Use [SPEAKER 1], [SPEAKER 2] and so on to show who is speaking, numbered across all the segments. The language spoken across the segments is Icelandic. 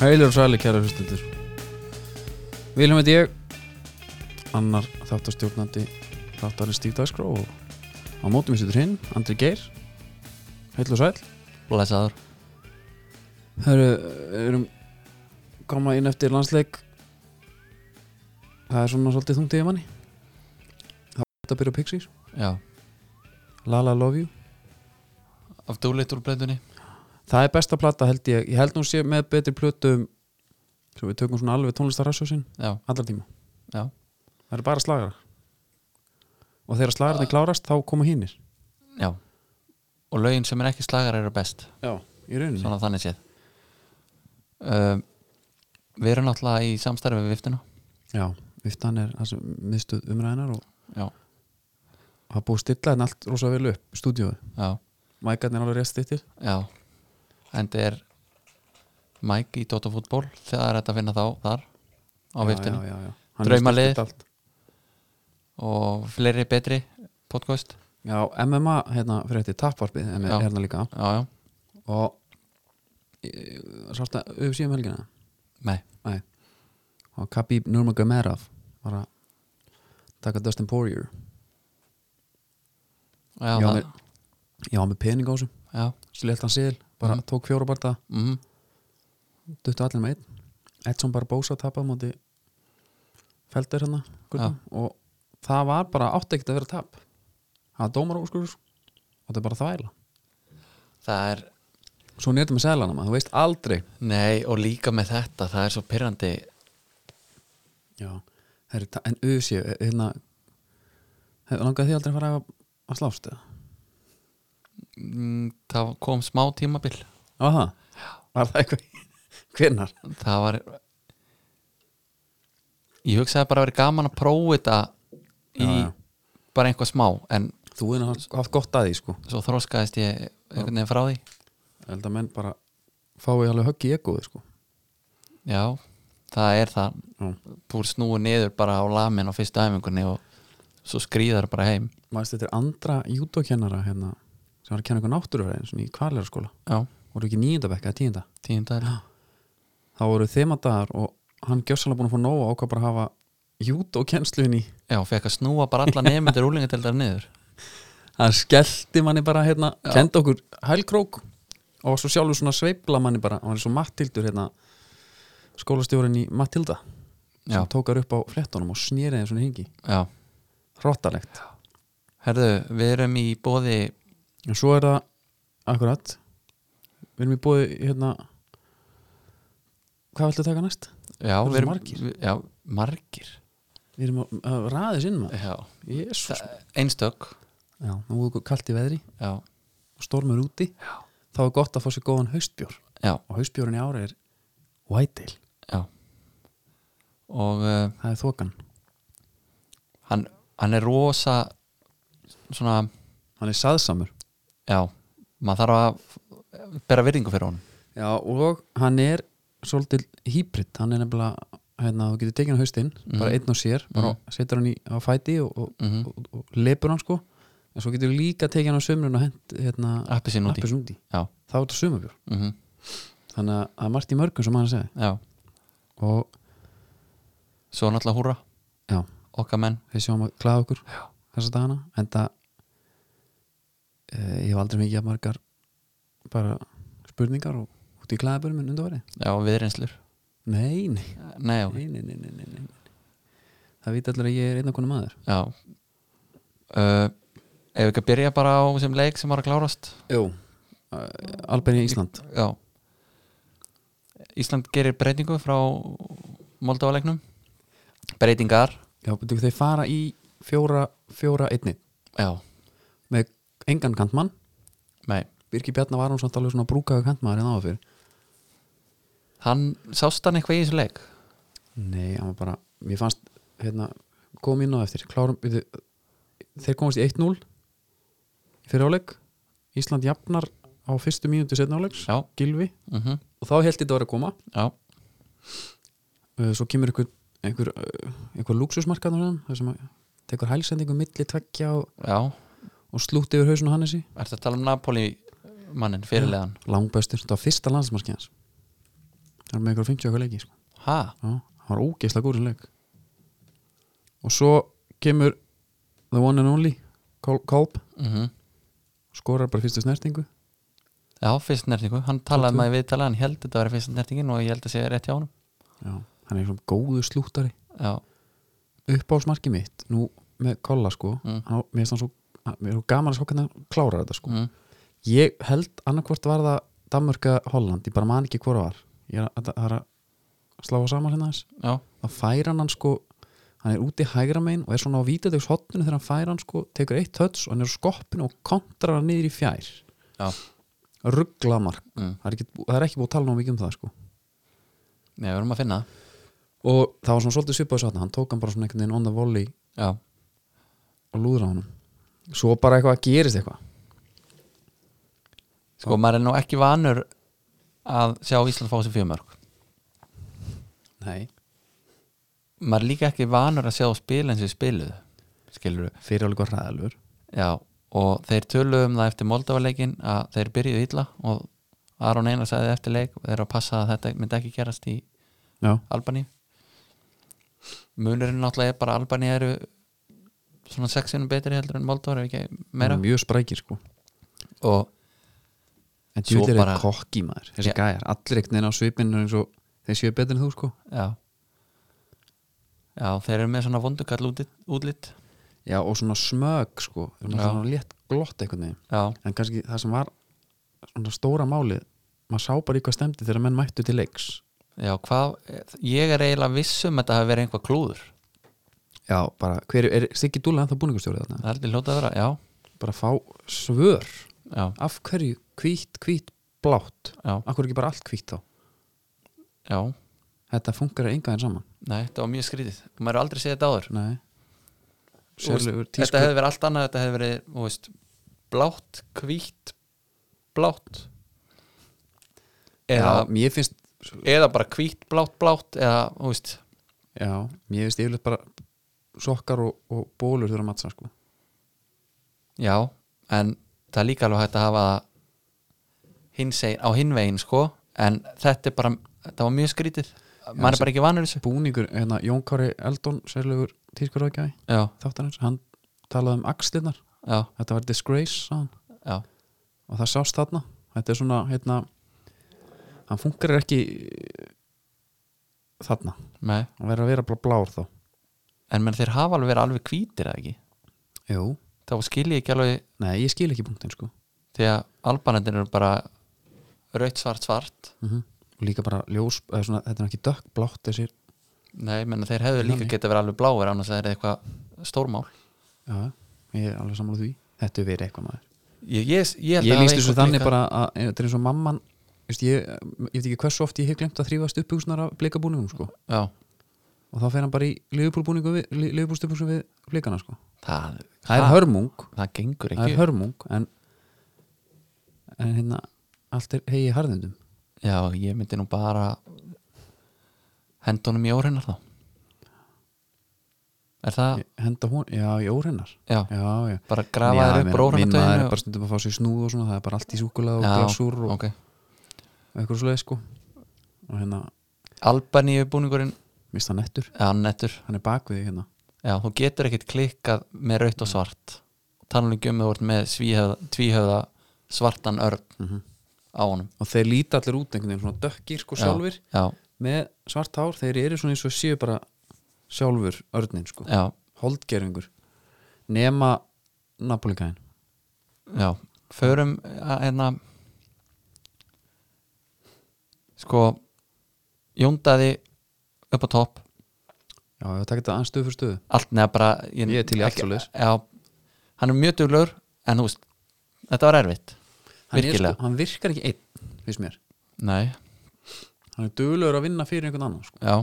[SPEAKER 1] Heilir og sæli kæra hlustendur Viljum heit ég Annar þáttastjórnandi Þáttarinn Stíf Dagskrá og á mótum við sittur hinn, Andri Geir Heil og sæl
[SPEAKER 2] Blesaður
[SPEAKER 1] Hörru, við erum koma inn eftir landsleik Það er svona svolítið þungtið í manni Það var þetta að byrja á Pixies
[SPEAKER 2] Já,
[SPEAKER 1] La La Love You
[SPEAKER 2] af dúleitt úr blendunni
[SPEAKER 1] Það er besta plata held ég Ég held nú sé með betri plötum Svo við tökum svona alveg tónlistarrassjósin
[SPEAKER 2] Já,
[SPEAKER 1] Allar tíma
[SPEAKER 2] já
[SPEAKER 1] Það eru bara slagarar Og þegar slagararnir klárast þá koma hinnir
[SPEAKER 2] Já Og lögin sem er ekki slagar eru best
[SPEAKER 1] Já, í rauninni
[SPEAKER 2] Svona þannig séð um, Við erum náttúrulega í samstarfi við viftuna
[SPEAKER 1] Já, viftan er það sem mistuð umræðinar og
[SPEAKER 2] Já,
[SPEAKER 1] hafa búið að stilla en allt rosa vel upp stúdíóið,
[SPEAKER 2] já,
[SPEAKER 1] mækarnir alveg rétt stittir
[SPEAKER 2] já En þetta er Mike í Dota Fútból Þegar er þetta að finna þá þar Á viftinu
[SPEAKER 1] já, já, já.
[SPEAKER 2] Draumaliðið.
[SPEAKER 1] er stillt allt.
[SPEAKER 2] Og fleiri betri podcast
[SPEAKER 1] Já, MMA hérna fyrir þetta tapvarpið en
[SPEAKER 2] Já.
[SPEAKER 1] er hérna líka
[SPEAKER 2] Já, já,
[SPEAKER 1] og eh, sátt að UFC um helgina
[SPEAKER 2] nei
[SPEAKER 1] Nei og Khabib Nurmagomedov var að taka Dustin Poirier
[SPEAKER 2] Já,
[SPEAKER 1] Já,
[SPEAKER 2] það,
[SPEAKER 1] mér- Já, með pening á þessu,
[SPEAKER 2] já
[SPEAKER 1] slétt hann síðil bara
[SPEAKER 2] Mhm.
[SPEAKER 1] tók fjóra barða
[SPEAKER 2] mm,
[SPEAKER 1] duttu allir með einn Edson Barbosa tapað móti Felder hérna gurnum, og það var bara átti ekkert að vera tap það var dómar og og þetta er bara þvæla
[SPEAKER 2] Það er
[SPEAKER 1] svo nýrðum með selana maður, þú veist aldrei
[SPEAKER 2] Nei, og líka með þetta, það er svo pyrrandi
[SPEAKER 1] já, herri, ta- en Usi hérna hef- langaði því aldrei að fara að, að slást eða?
[SPEAKER 2] Mm, það kom smá tímabil
[SPEAKER 1] var það? var það eitthvað hvernar?
[SPEAKER 2] það var ég hugsaði bara að vera gaman að prófa þetta í
[SPEAKER 1] Já, já.
[SPEAKER 2] bara einhvað smá en
[SPEAKER 1] þú hefði nú haft- haft gott að því sko
[SPEAKER 2] svo þróskaðist ég einhvern veginn frá því
[SPEAKER 1] Ég held að menn bara fái alveg högg í egoði sko
[SPEAKER 2] já, það er það
[SPEAKER 1] Já.
[SPEAKER 2] þú er snúið niður bara á lamin á fyrstu æfingunni og svo skrýðar bara heim
[SPEAKER 1] maður þetta er andra júdókennara hérna, sem var að kenna eitthvað náttúrufræðin svona í kvaleraskóla,
[SPEAKER 2] já,
[SPEAKER 1] voru ekki nýjöndabekka eða tíunda,
[SPEAKER 2] tíundar já,
[SPEAKER 1] þá voru þemadagar og hann gjössalega búin að fá nóga ákvað bara að hafa júdókennsluðin í
[SPEAKER 2] já fekk að snúa bara alla nefndir úlingadeldar niður
[SPEAKER 1] hann skellti manni bara hérna
[SPEAKER 2] Já.
[SPEAKER 1] kendi okkur hælkrók og var svo sjálfur svona sveifla manni bara hann var eins og Mattildur hérna skólastjórinn í Mattilda
[SPEAKER 2] já,
[SPEAKER 1] sem tókar upp á flettunum og snýriði svona hingi,
[SPEAKER 2] já,
[SPEAKER 1] hrottalegt
[SPEAKER 2] herðu, við erum í bóði
[SPEAKER 1] en svo er það akkurat við erum í bóði hérna hvað viltu taka næst?
[SPEAKER 2] já,
[SPEAKER 1] eru svo
[SPEAKER 2] við erum
[SPEAKER 1] margir.
[SPEAKER 2] við- já, margir
[SPEAKER 1] Við erum að- að raðis inn maður
[SPEAKER 2] já,
[SPEAKER 1] Jésus
[SPEAKER 2] það- einstök
[SPEAKER 1] Já, nú er kallt í veðri
[SPEAKER 2] já,
[SPEAKER 1] og stormur úti
[SPEAKER 2] Já.
[SPEAKER 1] Þá er gott að fá sér góðan haustbjór
[SPEAKER 2] já,
[SPEAKER 1] Og haustbjórinn í ári er White Ale
[SPEAKER 2] já og uh,
[SPEAKER 1] Það er þokan
[SPEAKER 2] hann, hann er rosa svona,
[SPEAKER 1] Hann er saðsamur
[SPEAKER 2] já maður þarf að f- bera virðingu fyrir honum
[SPEAKER 1] Já, og hann er svolítið hýbrit Hann er nefnilega, hérna, þú getur tekið hann á haustinn
[SPEAKER 2] Mhm.
[SPEAKER 1] Bara einn og sér Bara setur hann í, á fæti og, og,
[SPEAKER 2] mm
[SPEAKER 1] og, og, lepur hann sko En svo getur líka tekið hann á sömrun og hent hérna,
[SPEAKER 2] appi sín úti
[SPEAKER 1] appis úti
[SPEAKER 2] Já.
[SPEAKER 1] Þá er þetta sömabjór
[SPEAKER 2] mm
[SPEAKER 1] Þannig að það er margt í mörgum sem hann segi
[SPEAKER 2] já,
[SPEAKER 1] Og
[SPEAKER 2] svo náttúrulega húra
[SPEAKER 1] Já.
[SPEAKER 2] okkar menn
[SPEAKER 1] við sjáum að klaða okkur þessa dagana en það eh, ég hef aldrei mikið að margar bara spurningar og út í klæðabörnum en undarverið
[SPEAKER 2] já, viðreinslur
[SPEAKER 1] nei, nei,
[SPEAKER 2] nei, ok,
[SPEAKER 1] nei, nei, nei, nei, nei, nei, nei það vita allir að ég er einn og konu maður
[SPEAKER 2] já uh, ef við ekki að byrja bara á sem leik sem var að klárast
[SPEAKER 1] Jú, Albania Eh, Ísland
[SPEAKER 2] já Ísland gerir breytingu frá Moldova-leiknum breytingar
[SPEAKER 1] Já, betur þau fara í fjóra, fjóra einni
[SPEAKER 2] já,
[SPEAKER 1] með engan kantmann
[SPEAKER 2] nei
[SPEAKER 1] Birki Bjarnar var hún samt alveg svona brúkaðu kantmaður en áður fyrir
[SPEAKER 2] Hann sást hann eitthvað í þessu leik
[SPEAKER 1] Nei, hann var bara, mér fannst hérna, komum inn á eftir klárum, við, þeir komast í 1-0 fyrir áleik Ísland jafnar á fyrstu mínútu setna áleiks,
[SPEAKER 2] Já,
[SPEAKER 1] gilvi
[SPEAKER 2] mm
[SPEAKER 1] og þá held þetta var að koma
[SPEAKER 2] já,
[SPEAKER 1] uh, svo kemur einhver einhver, uh, einhver lúksusmarkað þar sem að tekur hælsendingu milli tveggja og,
[SPEAKER 2] já
[SPEAKER 1] og slútt yfir hausinu Hannesi
[SPEAKER 2] Ertu að tala um Napoli mannin, fyrirlegan
[SPEAKER 1] langbæstur, þetta var fyrsta landsmarkið hans Það er með einhver 50 okkur leiki sko.
[SPEAKER 2] ha,
[SPEAKER 1] Já, hann var ógeðslega góður sem leik og svo kemur the one and only Kol- Kolb,
[SPEAKER 2] mhm
[SPEAKER 1] skorar bara fyrstu snertingu
[SPEAKER 2] Já, fyrst nertingu, hann talaði maður við talaði, hann held þetta að vera fyrst nertingin og ég held að sé rétt hjá honum
[SPEAKER 1] Já, hann er svona góður slúttari
[SPEAKER 2] Já,
[SPEAKER 1] uppáhalsmarkið mitt, nú með Kolla sko,
[SPEAKER 2] Mm.
[SPEAKER 1] hann, á- mér finnst hann svo mér er svo gaman að sko hvernig hann klárar þetta sko
[SPEAKER 2] mm,
[SPEAKER 1] ég held annarkvort var það Danmörka Holland, ég bara man ekki hvora var ég er að, það er að slá á saman hérna þess
[SPEAKER 2] já,
[SPEAKER 1] þá fær hann hann sko hann er úti hægra megin og er svona á vítadegs hotninu þegar hann fær hann sko, tekur eitt töts og hann er á skoppinu og kontrar hann niður í fjær
[SPEAKER 2] Já.
[SPEAKER 1] rugglamark
[SPEAKER 2] mm.
[SPEAKER 1] það er ekki, það er ekki búið að tala náum mikið um það sko
[SPEAKER 2] Nei, við erum að finna það.
[SPEAKER 1] og það var svona svolítið svipaðu satna hann tók hann bara svona einhvern veginn on the volley
[SPEAKER 2] Já,
[SPEAKER 1] og lúður á honum svo bara eitthvað gerist eitthvað
[SPEAKER 2] sko, maður er nú ekki vanur að sjá Ísland fá sér fjömörk
[SPEAKER 1] Nei.
[SPEAKER 2] maður er líka ekki vanur að sjá spilin sem spiluð skilur
[SPEAKER 1] fyrir alveg hvað hræðalur
[SPEAKER 2] já, og þeir töluðu um það eftir Moldavaleikin að þeir byrjuðu illa og Aron Einar sagði eftir leik og þeir eru að passa að þetta myndi ekki gerast í
[SPEAKER 1] já,
[SPEAKER 2] Albaníu munurinn náttúrulega er bara að Albaníu eru svona sexinu betri heldur en Moldavar ef ekki meira
[SPEAKER 1] hann er mjög sprækir sko
[SPEAKER 2] og
[SPEAKER 1] en
[SPEAKER 2] Svo
[SPEAKER 1] djúlir
[SPEAKER 2] bara-
[SPEAKER 1] er kokki maður þessi
[SPEAKER 2] Já.
[SPEAKER 1] gæjar, allir ekkert neina á svipinu eins og þeir séu betur en þú sko
[SPEAKER 2] já já, þeir eru með svona vondukall útlit, útlit
[SPEAKER 1] já, og svona smög sko er
[SPEAKER 2] Já.
[SPEAKER 1] maður svona létt glott einhvern veginn
[SPEAKER 2] já,
[SPEAKER 1] en kannski það sem var svona stóra málið maður sá bara í hvað stemdi þegar menn mættu til leiks
[SPEAKER 2] já, hvað ég er eiginlega viss um að þetta hafi verið einhvað klúður
[SPEAKER 1] já, bara, hver er, er Siggi Dúla ennþá búningustjórið þarna?
[SPEAKER 2] það er aldrei hljóta að vera, já,
[SPEAKER 1] bara fá svör
[SPEAKER 2] já,
[SPEAKER 1] af hverju hvít, hvít, blátt
[SPEAKER 2] já,
[SPEAKER 1] af hverju ekki bara allt hvít þá
[SPEAKER 2] já
[SPEAKER 1] þetta funkar enga en saman
[SPEAKER 2] nei, þetta var mjög skrítið, maður er aldrei séð þetta áður
[SPEAKER 1] Nei.
[SPEAKER 2] Þú veist,
[SPEAKER 1] Sérlegur tísku
[SPEAKER 2] þetta hefði verið allt annað, þetta hefði verið þú veist, blátt, hvítt blátt eða,
[SPEAKER 1] já, mér finnst
[SPEAKER 2] eða bara hvítt, blátt, blátt eða, þú veist,
[SPEAKER 1] já, mér finnst yfirleitt bara sokkar og, og bólur þurfa að mattsa sko.
[SPEAKER 2] já en það er líka alveg hægt að hafa hinsegin, á hinvegin sko, en þetta er bara þetta var mjög skrítið, maður
[SPEAKER 1] þessi-
[SPEAKER 2] er bara ekki vanur þessu
[SPEAKER 1] búningur, hérna, Jón Kári Eldon sérlegur tískur ágæði
[SPEAKER 2] já,
[SPEAKER 1] þáttanins, hann talaði um axlirnar
[SPEAKER 2] já,
[SPEAKER 1] þetta var disgrace sagði hann,
[SPEAKER 2] já,
[SPEAKER 1] og það sást þarna þetta er svona, hérna hann funkar ekki eh, þarna,
[SPEAKER 2] nei
[SPEAKER 1] hann verður að vera bara blár þá
[SPEAKER 2] en menn þeir hafa alveg verið alveg hvítir eða ekki
[SPEAKER 1] jú,
[SPEAKER 2] þá skil ég ekki alveg
[SPEAKER 1] nei, ég skil ekki punktin sko
[SPEAKER 2] því að albanendir eru bara raut, svart, svart
[SPEAKER 1] mm og líka bara ljós, eða svona, þetta er ekki dökkblátt þessir,
[SPEAKER 2] Nei, menn þeir hefðu líka
[SPEAKER 1] Þannig.
[SPEAKER 2] geta verið alveg bláir annars að það er eitthvað stórmál
[SPEAKER 1] já, ég er alveg sammála því þetta er verið eitthvað maður
[SPEAKER 2] Ég, ég, ég, held að
[SPEAKER 1] ég
[SPEAKER 2] hafi
[SPEAKER 1] líst þessu
[SPEAKER 2] eitthvað
[SPEAKER 1] þannig
[SPEAKER 2] klikkað.
[SPEAKER 1] bara að e, þetta er eins og mamman veist, ég, ég veit ekki hversu oft ég hef glemt að þrýfast upphugsunar af blikabúningum sko.
[SPEAKER 2] Já,
[SPEAKER 1] og þá fer hann bara í liðbúlbúningu við, liðbúlstupphugsun við blikana sko.
[SPEAKER 2] það,
[SPEAKER 1] það er hörmung,
[SPEAKER 2] það gengur
[SPEAKER 1] það
[SPEAKER 2] ekki
[SPEAKER 1] er hörmung en, en hérna allt er hegi harðindum
[SPEAKER 2] Já, ég myndi nú bara hendunum í óreinar þá Er það,
[SPEAKER 1] Ég henda hún, já, í óreinar
[SPEAKER 2] já,
[SPEAKER 1] já, já
[SPEAKER 2] bara grafa
[SPEAKER 1] Já,
[SPEAKER 2] þér upp
[SPEAKER 1] meina, minn maður er
[SPEAKER 2] bróðrunatauðinu
[SPEAKER 1] bara stundum að fá sér snúð og svona það er bara allt í súkulað og
[SPEAKER 2] Já,
[SPEAKER 1] glasúr og
[SPEAKER 2] ok
[SPEAKER 1] eitthvað svoleið sko og hérna,
[SPEAKER 2] Albaníu búningurinn,
[SPEAKER 1] mista nettur,
[SPEAKER 2] já, nettur
[SPEAKER 1] hann er bak við þig hérna
[SPEAKER 2] Já, þú getur ekkit klikkað með raut og svart Tannlega gjömmu þú ert með svíhöfða, tvíhöfða svartan örn
[SPEAKER 1] Mhm.
[SPEAKER 2] á honum
[SPEAKER 1] og þeir líta allir út einhvern veginn svona dökkir sko
[SPEAKER 2] Já.
[SPEAKER 1] sjálfur
[SPEAKER 2] Já,
[SPEAKER 1] með svart hár, þeir eru svona eins og séu bara sjálfur örnin sko
[SPEAKER 2] já,
[SPEAKER 1] holdgerfingur nema Napolikæn
[SPEAKER 2] Já, förum að hérna sko jóndaði upp á topp
[SPEAKER 1] já, ég takk þetta aðeins stöðu fyrir stöðu
[SPEAKER 2] allt neða bara
[SPEAKER 1] Ég er til í allt
[SPEAKER 2] ekki-
[SPEAKER 1] svoleiðis.
[SPEAKER 2] Já, hann er mjög duglur en þú veist, þetta var erfitt
[SPEAKER 1] hann, er,
[SPEAKER 2] Virkilega.
[SPEAKER 1] sko, hann virkar ekki einn, finnst mér
[SPEAKER 2] Nei,
[SPEAKER 1] hann er duglegur að vinna fyrir einhvern annan sko.
[SPEAKER 2] já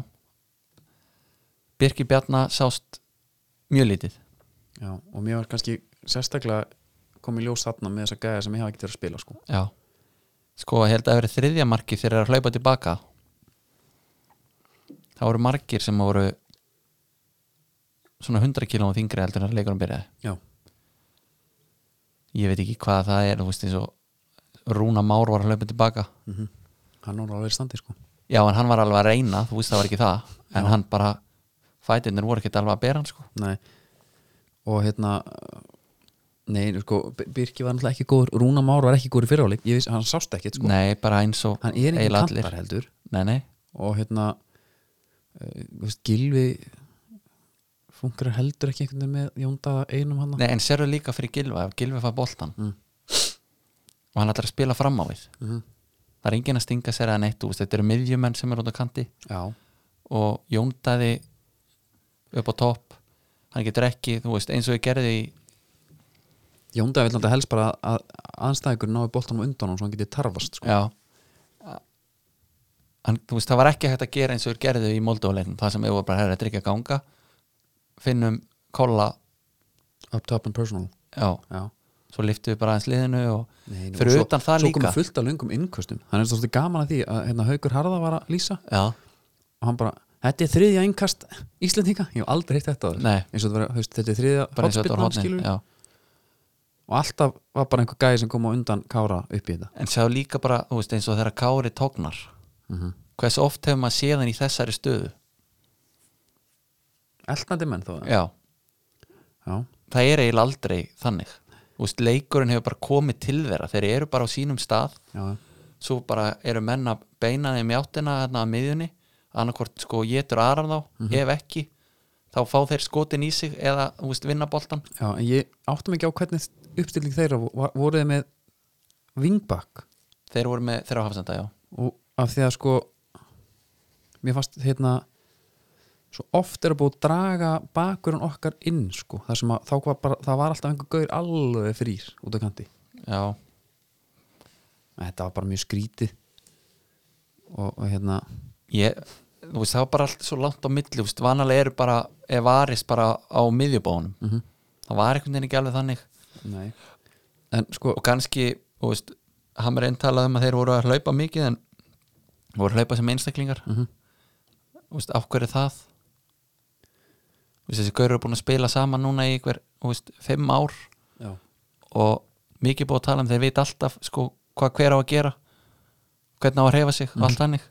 [SPEAKER 2] Birki Bjarna sást mjög lítið
[SPEAKER 1] já, og mér var kannski sérstaklega komið ljós þarna með þessa gæja sem ég hafa ekkert verið að spila sko.
[SPEAKER 2] Já Sko, ég held að verið þriðja marki þegar að hlaupa tilbaka Það voru margir sem voru svona 100 kílóma þingri heldur en að leikurum byrjaði
[SPEAKER 1] já,
[SPEAKER 2] Ég veit ekki hvað það er, þú veist eins og Rúna Már var að hlaupa tilbaka
[SPEAKER 1] Mhm. hann er alveg verið standið sko.
[SPEAKER 2] já en hann var alveg að reyna þú veist það var ekki það en hann bara, fætinir voru ekkert alveg að bera hann sko.
[SPEAKER 1] Nei Og hérna Nei, sko, B- Birki var náttúrulega ekki góður Rúna Már var ekki góður í fyrirháleik Ég vissi, hann sást ekkit sko
[SPEAKER 2] nei, bara eins og
[SPEAKER 1] Hann er ekki
[SPEAKER 2] eiginlega allir.
[SPEAKER 1] kantar heldur
[SPEAKER 2] nei, nei,
[SPEAKER 1] Og hérna uh, veist, Gilvi Funkar heldur ekki einhvern veginn með Jónda einum hann
[SPEAKER 2] nei en sérðu líka fyrir Gilva ef Gilva fær boltan
[SPEAKER 1] Mm.
[SPEAKER 2] og hann ætlar að spila fram á við
[SPEAKER 1] Mhm.
[SPEAKER 2] það er engin að stinga sér eða neitt þú veist, þetta eru miðjumenn sem eru út á kanti
[SPEAKER 1] Já,
[SPEAKER 2] og jóndaði upp á topp hann getur ekki, þú veist, eins og ég gerði í,
[SPEAKER 1] Jónda vil alltaf helst bara að anstæðingur náði boltanum á undan hann svo hann geti tarfast sko.
[SPEAKER 2] já hann, þú veist, það var ekki hægt að gera eins og ég gerði í Moldóleitin, það sem ég var bara herri að drikja ganga finnum kolla,
[SPEAKER 1] Up top and personal
[SPEAKER 2] já,
[SPEAKER 1] Já
[SPEAKER 2] svo lyftum við bara aðeins liðinu og
[SPEAKER 1] Nei, nú,
[SPEAKER 2] Fyrir
[SPEAKER 1] svo-
[SPEAKER 2] utan það
[SPEAKER 1] svo komið
[SPEAKER 2] líka.
[SPEAKER 1] fullt af löngum innköstum hann er svolítið gaman að því að hérna, Haukur Harða var að lýsa
[SPEAKER 2] já,
[SPEAKER 1] og hann bara, þetta er þriðja innkast Íslendinga, ég hef aldrei hitt þetta áður
[SPEAKER 2] Nei.
[SPEAKER 1] eins og þetta var, haust, þetta er þriðja
[SPEAKER 2] bara eins og þetta var
[SPEAKER 1] hornspyrnan,
[SPEAKER 2] hodnin
[SPEAKER 1] skilurðu.
[SPEAKER 2] já.
[SPEAKER 1] og alltaf var bara einhver gæði sem kom á undan Kára upp í þetta
[SPEAKER 2] en sjá líka bara, þú veist, eins og þegar Kári tóknar
[SPEAKER 1] mm
[SPEAKER 2] Mhm.
[SPEAKER 1] -hmm.
[SPEAKER 2] hversu oft hefur maður séð hann í þessari stöðu
[SPEAKER 1] Eltnandi menn þó
[SPEAKER 2] já,
[SPEAKER 1] Já, já,
[SPEAKER 2] það er eiginlega aldrei þannig Þú veist, leikurinn hefur bara komið til þeirra þeir eru bara á sínum stað
[SPEAKER 1] já,
[SPEAKER 2] svo bara eru menn að beina þeim í áttina þarna að miðjunni annarkvort sko getur aðrar þá
[SPEAKER 1] Mhm.
[SPEAKER 2] ef ekki, þá fá þeir skotin í sig eða þú veist, vinna boltan
[SPEAKER 1] já en ég áttum ekki á hvernig uppstilling þeirra var, voruði með vingbakk
[SPEAKER 2] þeir voru með þeirra hafsenda, já
[SPEAKER 1] og af því að sko mér fannst hérna svo oft er að búið að draga bakurinn okkar inn sko þar sem að þá var bara, það var alltaf einhver gaur alveg frýr út á kanti
[SPEAKER 2] já,
[SPEAKER 1] þetta var bara mjög skrítið og, og hérna
[SPEAKER 2] ég, þú veist, það var bara allt svo langt á milli, þú veist, vanalega eru bara ef varis bara á miðjubónum
[SPEAKER 1] Mhm.
[SPEAKER 2] það var einhvern veginn ekki alveg þannig
[SPEAKER 1] nei en sko,
[SPEAKER 2] og kannski, þú veist, hann er einn talað um að þeir voru að hlaupa mikið en voru að hlaupa sem einstaklingar
[SPEAKER 1] mm
[SPEAKER 2] þú veist, af hverju það þú veist, þessi gaur eru búin að spila saman núna í einhver, þú veist, fimm ár
[SPEAKER 1] já,
[SPEAKER 2] og mikið búið að tala um þeir veit alltaf, sko, hvað hver á að gera hvernig á að reyfa sig,
[SPEAKER 1] Mhm.
[SPEAKER 2] allt hannig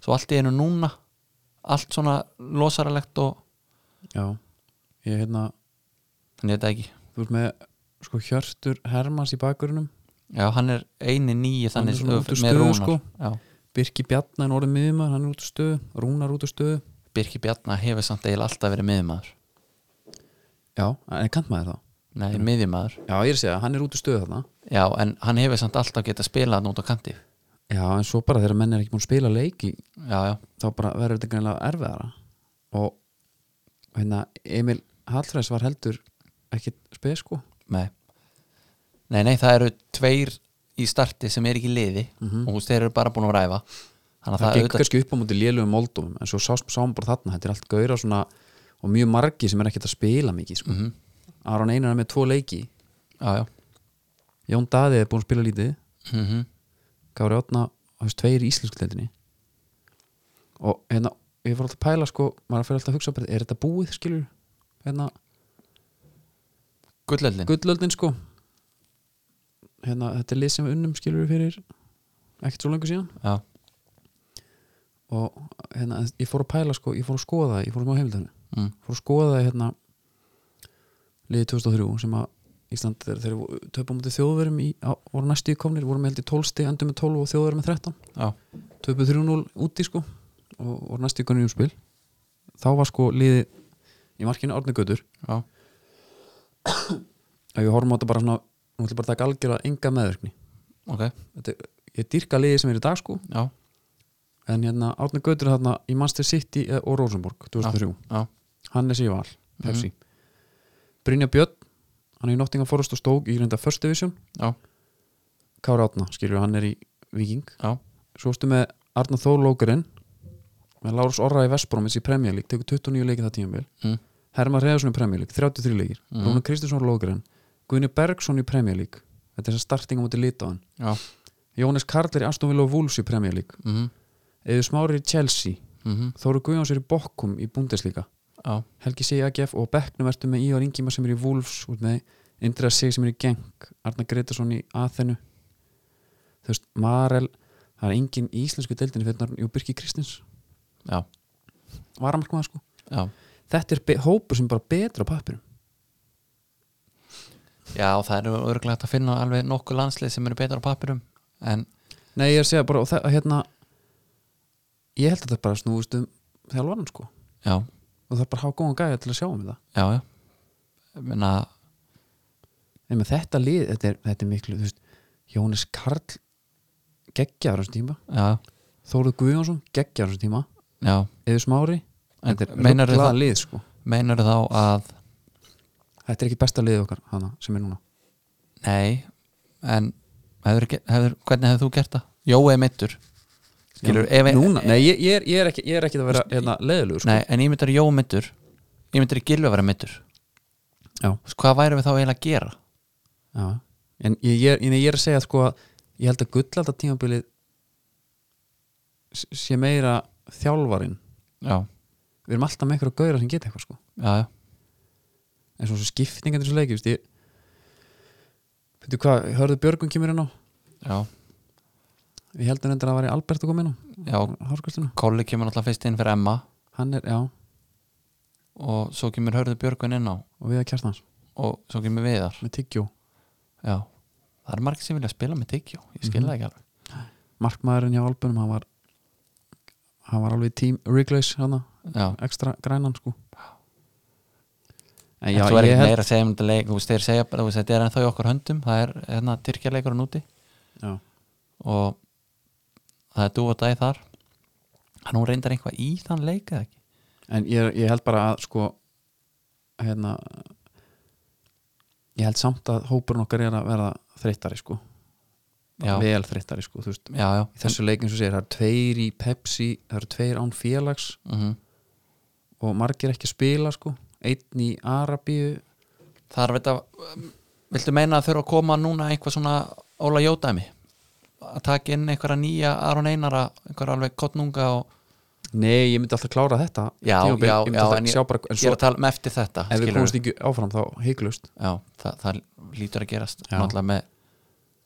[SPEAKER 2] svo allt í einu núna allt svona losaralegt og
[SPEAKER 1] já ég hérna,
[SPEAKER 2] þannig þetta ekki
[SPEAKER 1] þú veist með sko Hjörtur Hermans í bakurinnum
[SPEAKER 2] já, hann er eini nýji
[SPEAKER 1] Hann er
[SPEAKER 2] þannig
[SPEAKER 1] svona út úr
[SPEAKER 2] öf-
[SPEAKER 1] stöðu,
[SPEAKER 2] með Rúnar
[SPEAKER 1] sko.
[SPEAKER 2] já.
[SPEAKER 1] Birki Bjarnar er orðið miðumar, hann er út úr stöðu Rúnar út úr stöðu,
[SPEAKER 2] Birki Bjarnar hefur samt eiginlega alltaf verið miðjumæður
[SPEAKER 1] já, en kannt maður þá
[SPEAKER 2] nei, miðjumæður,
[SPEAKER 1] já, ég er að segja, hann er út úr stöðu þarna
[SPEAKER 2] já, en hann hefur samt alltaf getað spilað nút á kanti
[SPEAKER 1] Já, en svo bara þegar menn er ekki búin að spila leiki
[SPEAKER 2] já, já,
[SPEAKER 1] þá bara verður þetta greinlega erfiðara og og hérna Emil Hallfræs var heldur ekki spes sko
[SPEAKER 2] Nei. nei, nei, það eru tveir í starti sem er ekki í liði og þú veist, þeir eru bara búin að ræfa þannig að
[SPEAKER 1] Mhm.
[SPEAKER 2] það
[SPEAKER 1] það
[SPEAKER 2] er
[SPEAKER 1] gekk
[SPEAKER 2] auðvitað
[SPEAKER 1] kannski upp á móti lélugum moldum en svo sást sáum bara þarna, þetta er allt gauðra svona og mjög margi sem er ekkert að spila mikið sko.
[SPEAKER 2] mm -hmm.
[SPEAKER 1] Aron Einar er með tvo leiki
[SPEAKER 2] já, já.
[SPEAKER 1] Jón Daði er búin að spila lítið
[SPEAKER 2] Mm
[SPEAKER 1] Kári Otna, hans tveir í íslenskuleginni og hérna ég var alltaf að pæla sko, maður fyrir alltaf að hugsa bara, er þetta búið skilur hérna,
[SPEAKER 2] gullöldin
[SPEAKER 1] gullöldin sko hérna, þetta er lið sem við unnum skilur fyrir ekkert svo lengur síðan
[SPEAKER 2] já.
[SPEAKER 1] og hérna, en ég fór að pæla sko ég fór að skoða, ég fór að smá heimildinu
[SPEAKER 2] Mm.
[SPEAKER 1] fór að skoða hérna liðið 2003 sem að Ísland þegar þeir voru- töpu á mútið þjóðverum í, á, voru næstu í komnir, voru með held í 12 stig endur með 12 og þjóðverum með 13
[SPEAKER 2] já,
[SPEAKER 1] töpu 3-0 úti sko og voru næstu í komnir í umspil þá var sko liðið í markinu Árni Götur
[SPEAKER 2] já,
[SPEAKER 1] ef ég horfum á þetta bara svona nú ætlum bara að taka algjörða enga meðverkni
[SPEAKER 2] ok
[SPEAKER 1] þetta, ég dýrka liðið sem er í dag sko
[SPEAKER 2] já,
[SPEAKER 1] en hérna Árni Gautur þarna í Manchester City eh, og Rosenborg 2003,
[SPEAKER 2] já, Mhm.
[SPEAKER 1] Hannes í Val Pepsi, Brynja Björn hann er í Nottingham Forest og Stoke í reynda First Division,
[SPEAKER 2] já,
[SPEAKER 1] Kára Átna skilur hann er í Viking,
[SPEAKER 2] já,
[SPEAKER 1] svo stu með Arna Þór Lókurinn með Lárus Orra í Vestbrómins í Premier League tekur 29 leikið það tímabil,
[SPEAKER 2] mm.
[SPEAKER 1] Herman Reðarsson í Premier League 33 leikir,
[SPEAKER 2] Mhm.
[SPEAKER 1] mm. Rúna Kristinsson Lókurinn Guðni Bergson í Premier League þetta er þess að starting á móti litáðan
[SPEAKER 2] já.
[SPEAKER 1] Jónis Karler í Aston Villa og Wolves í Premier League
[SPEAKER 2] Mm
[SPEAKER 1] Eður Smári í Chelsea
[SPEAKER 2] -hmm.
[SPEAKER 1] Þóru Guðjóns er í Bokkum í Bundesliga
[SPEAKER 2] já,
[SPEAKER 1] Helgi Sig í AGF og á Becknum ertu með Ívar Ingimar sem er í Wolves út með Indra Sig sem er í Genk Arna Gretarsson í Aþenu þú veist, Marel það er engin í íslensku deildinni fyrir Jú Birki Kristins
[SPEAKER 2] já,
[SPEAKER 1] varamarkmaður sko
[SPEAKER 2] já
[SPEAKER 1] þetta er be- hópur sem er bara betra á pappirum
[SPEAKER 2] já, það eru örglega hægt að finna alveg nokkuð landslið sem eru betur á pappirum en
[SPEAKER 1] nei ég er að segja bara og það, hérna, ég held að þetta bara snúist um þjálfanum sko
[SPEAKER 2] já,
[SPEAKER 1] og það er bara að hafa góðan gæja til að sjá um þetta
[SPEAKER 2] já, já Ég meina,
[SPEAKER 1] Nei, menn, þetta lið, þetta er, þetta er miklu þú veist, Jónis Karl geggjaður á þessum tíma,
[SPEAKER 2] já,
[SPEAKER 1] Þóruð Guðjónsson geggjaður á þessum tíma,
[SPEAKER 2] já
[SPEAKER 1] eða smári
[SPEAKER 2] En
[SPEAKER 1] þetta er
[SPEAKER 2] meinarðu
[SPEAKER 1] ruglað
[SPEAKER 2] það-
[SPEAKER 1] lið sko
[SPEAKER 2] meinar þá að
[SPEAKER 1] þetta er ekki besta liðið okkar hana, sem er núna
[SPEAKER 2] Nei, en hefur, ekki- hefur, hvernig hefur þú gert það? Jói er mittur Skilur, ef,
[SPEAKER 1] núna, nei, ég, ég, er, ég, er ekki, ég er ekki að vera hérna, leðilugur sko.
[SPEAKER 2] nei, en ég myndar Jói mittur Ég myndar Gilvi að vera mittur
[SPEAKER 1] Já.
[SPEAKER 2] Þú veist, Hvað væri við þá eiginlega að gera?
[SPEAKER 1] Já. en ég, ég, er- en ég er að segja sko, að ég held að gullaldar tímabilið s- sé meira þjálfarin
[SPEAKER 2] Já,
[SPEAKER 1] við erum alltaf með einhverja gauðra sem geta eitthvað sko.
[SPEAKER 2] já, já,
[SPEAKER 1] en svona svo skiptingan þessu leiki veist, ég, veitu hvað, hörðu Björgun kemur inn á
[SPEAKER 2] já,
[SPEAKER 1] ég heldur endur að það væri Albert að koma inn á
[SPEAKER 2] já.
[SPEAKER 1] hárskustinu,
[SPEAKER 2] Kolli kemur alltaf fyrst inn fyrir Emma
[SPEAKER 1] hann er, já,
[SPEAKER 2] og svo kemur Hörður Björgun inn á
[SPEAKER 1] og við að kjart hans
[SPEAKER 2] og svo kemur Viðar
[SPEAKER 1] með tyggjó,
[SPEAKER 2] Já, það er margir sem vilja spila með Tyggjó Ég skil
[SPEAKER 1] Mhm.
[SPEAKER 2] það ekki alveg
[SPEAKER 1] markmaðurinn hjá Albunum hann var, hann var alveg tím Riglace, hann
[SPEAKER 2] Já,
[SPEAKER 1] ekstra grænan sko en
[SPEAKER 2] en
[SPEAKER 1] já,
[SPEAKER 2] þú er
[SPEAKER 1] ég
[SPEAKER 2] ekki
[SPEAKER 1] held
[SPEAKER 2] meira að segja um þetta leik þú veist, þeir segja bara, þú veist, þetta er ennþá í okkar höndum það er hérna Tyrkjaleikurinn úti
[SPEAKER 1] já,
[SPEAKER 2] og það er dúa dæði þar hann hún reyndar eitthvað í þann leik eða ekki
[SPEAKER 1] en ég, ég held bara að sko hérna ég held samt að hópurinn okkar er að verða þreyttari sko
[SPEAKER 2] Já.
[SPEAKER 1] vel þreyttari sko, þú veist
[SPEAKER 2] já, já,
[SPEAKER 1] í þessu leikin svo segir, það eru tveir í Pepsi það eru tveir án félags
[SPEAKER 2] mm
[SPEAKER 1] og margir ekki að spila sko einn í Arabíu
[SPEAKER 2] það er veit að um, viltu meina að þurfa að koma núna einhvað svona Óla Jódæmi að taka inn einhverja nýja Aron Einara einhverja alveg kottnunga og
[SPEAKER 1] nei, ég myndi alltaf klára þetta
[SPEAKER 2] Já,
[SPEAKER 1] tímabil.
[SPEAKER 2] já,
[SPEAKER 1] ég myndi
[SPEAKER 2] já,
[SPEAKER 1] alltaf
[SPEAKER 2] en ég-
[SPEAKER 1] sjá bara,
[SPEAKER 2] ég
[SPEAKER 1] en
[SPEAKER 2] er
[SPEAKER 1] svo
[SPEAKER 2] að tala um eftir þetta
[SPEAKER 1] ef við
[SPEAKER 2] skilurðu.
[SPEAKER 1] komumst ekki áfram þá heiklust
[SPEAKER 2] já, það, það lítur að gerast
[SPEAKER 1] Já.
[SPEAKER 2] náttúrulega með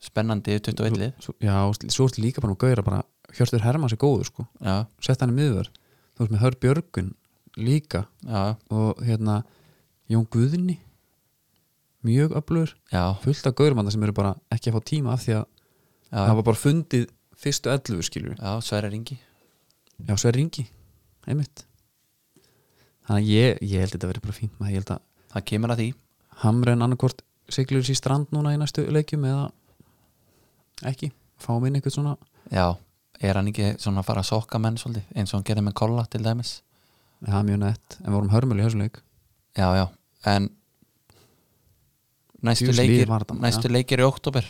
[SPEAKER 2] spennandi 21 lið
[SPEAKER 1] svo, já, og svo ertu líka bara með gauðra bara Hjörtur Hermann er góður sko,
[SPEAKER 2] já,
[SPEAKER 1] sett hann í miður þú veist með Hör Björgun líka
[SPEAKER 2] já,
[SPEAKER 1] og hérna Jón Guðni mjög öflur,
[SPEAKER 2] já,
[SPEAKER 1] fullt af gauðrumanna sem eru bara ekki að fá tíma af því að
[SPEAKER 2] já,
[SPEAKER 1] það var bara fundið fyrstu 11 skilur við,
[SPEAKER 2] já Sverri Ringi
[SPEAKER 1] já svo er ringi einmitt þannig að ég, ég held þetta verið bara fínt maður ég held að
[SPEAKER 2] það kemur að því
[SPEAKER 1] Hamren annarkvort siglur sér strand núna í næstu leikjum eða ekki, fáum inn eitthvað svona
[SPEAKER 2] Já, er hann ekki svona að fara að sokka menn svolítið eins og hann gerði með kolla til dæmis
[SPEAKER 1] það er mjög nett, en vorum hörmul í þessum leik
[SPEAKER 2] Já, já, en næstu
[SPEAKER 1] Djús
[SPEAKER 2] leikir,
[SPEAKER 1] líf var þetta,
[SPEAKER 2] næstu leikir í oktober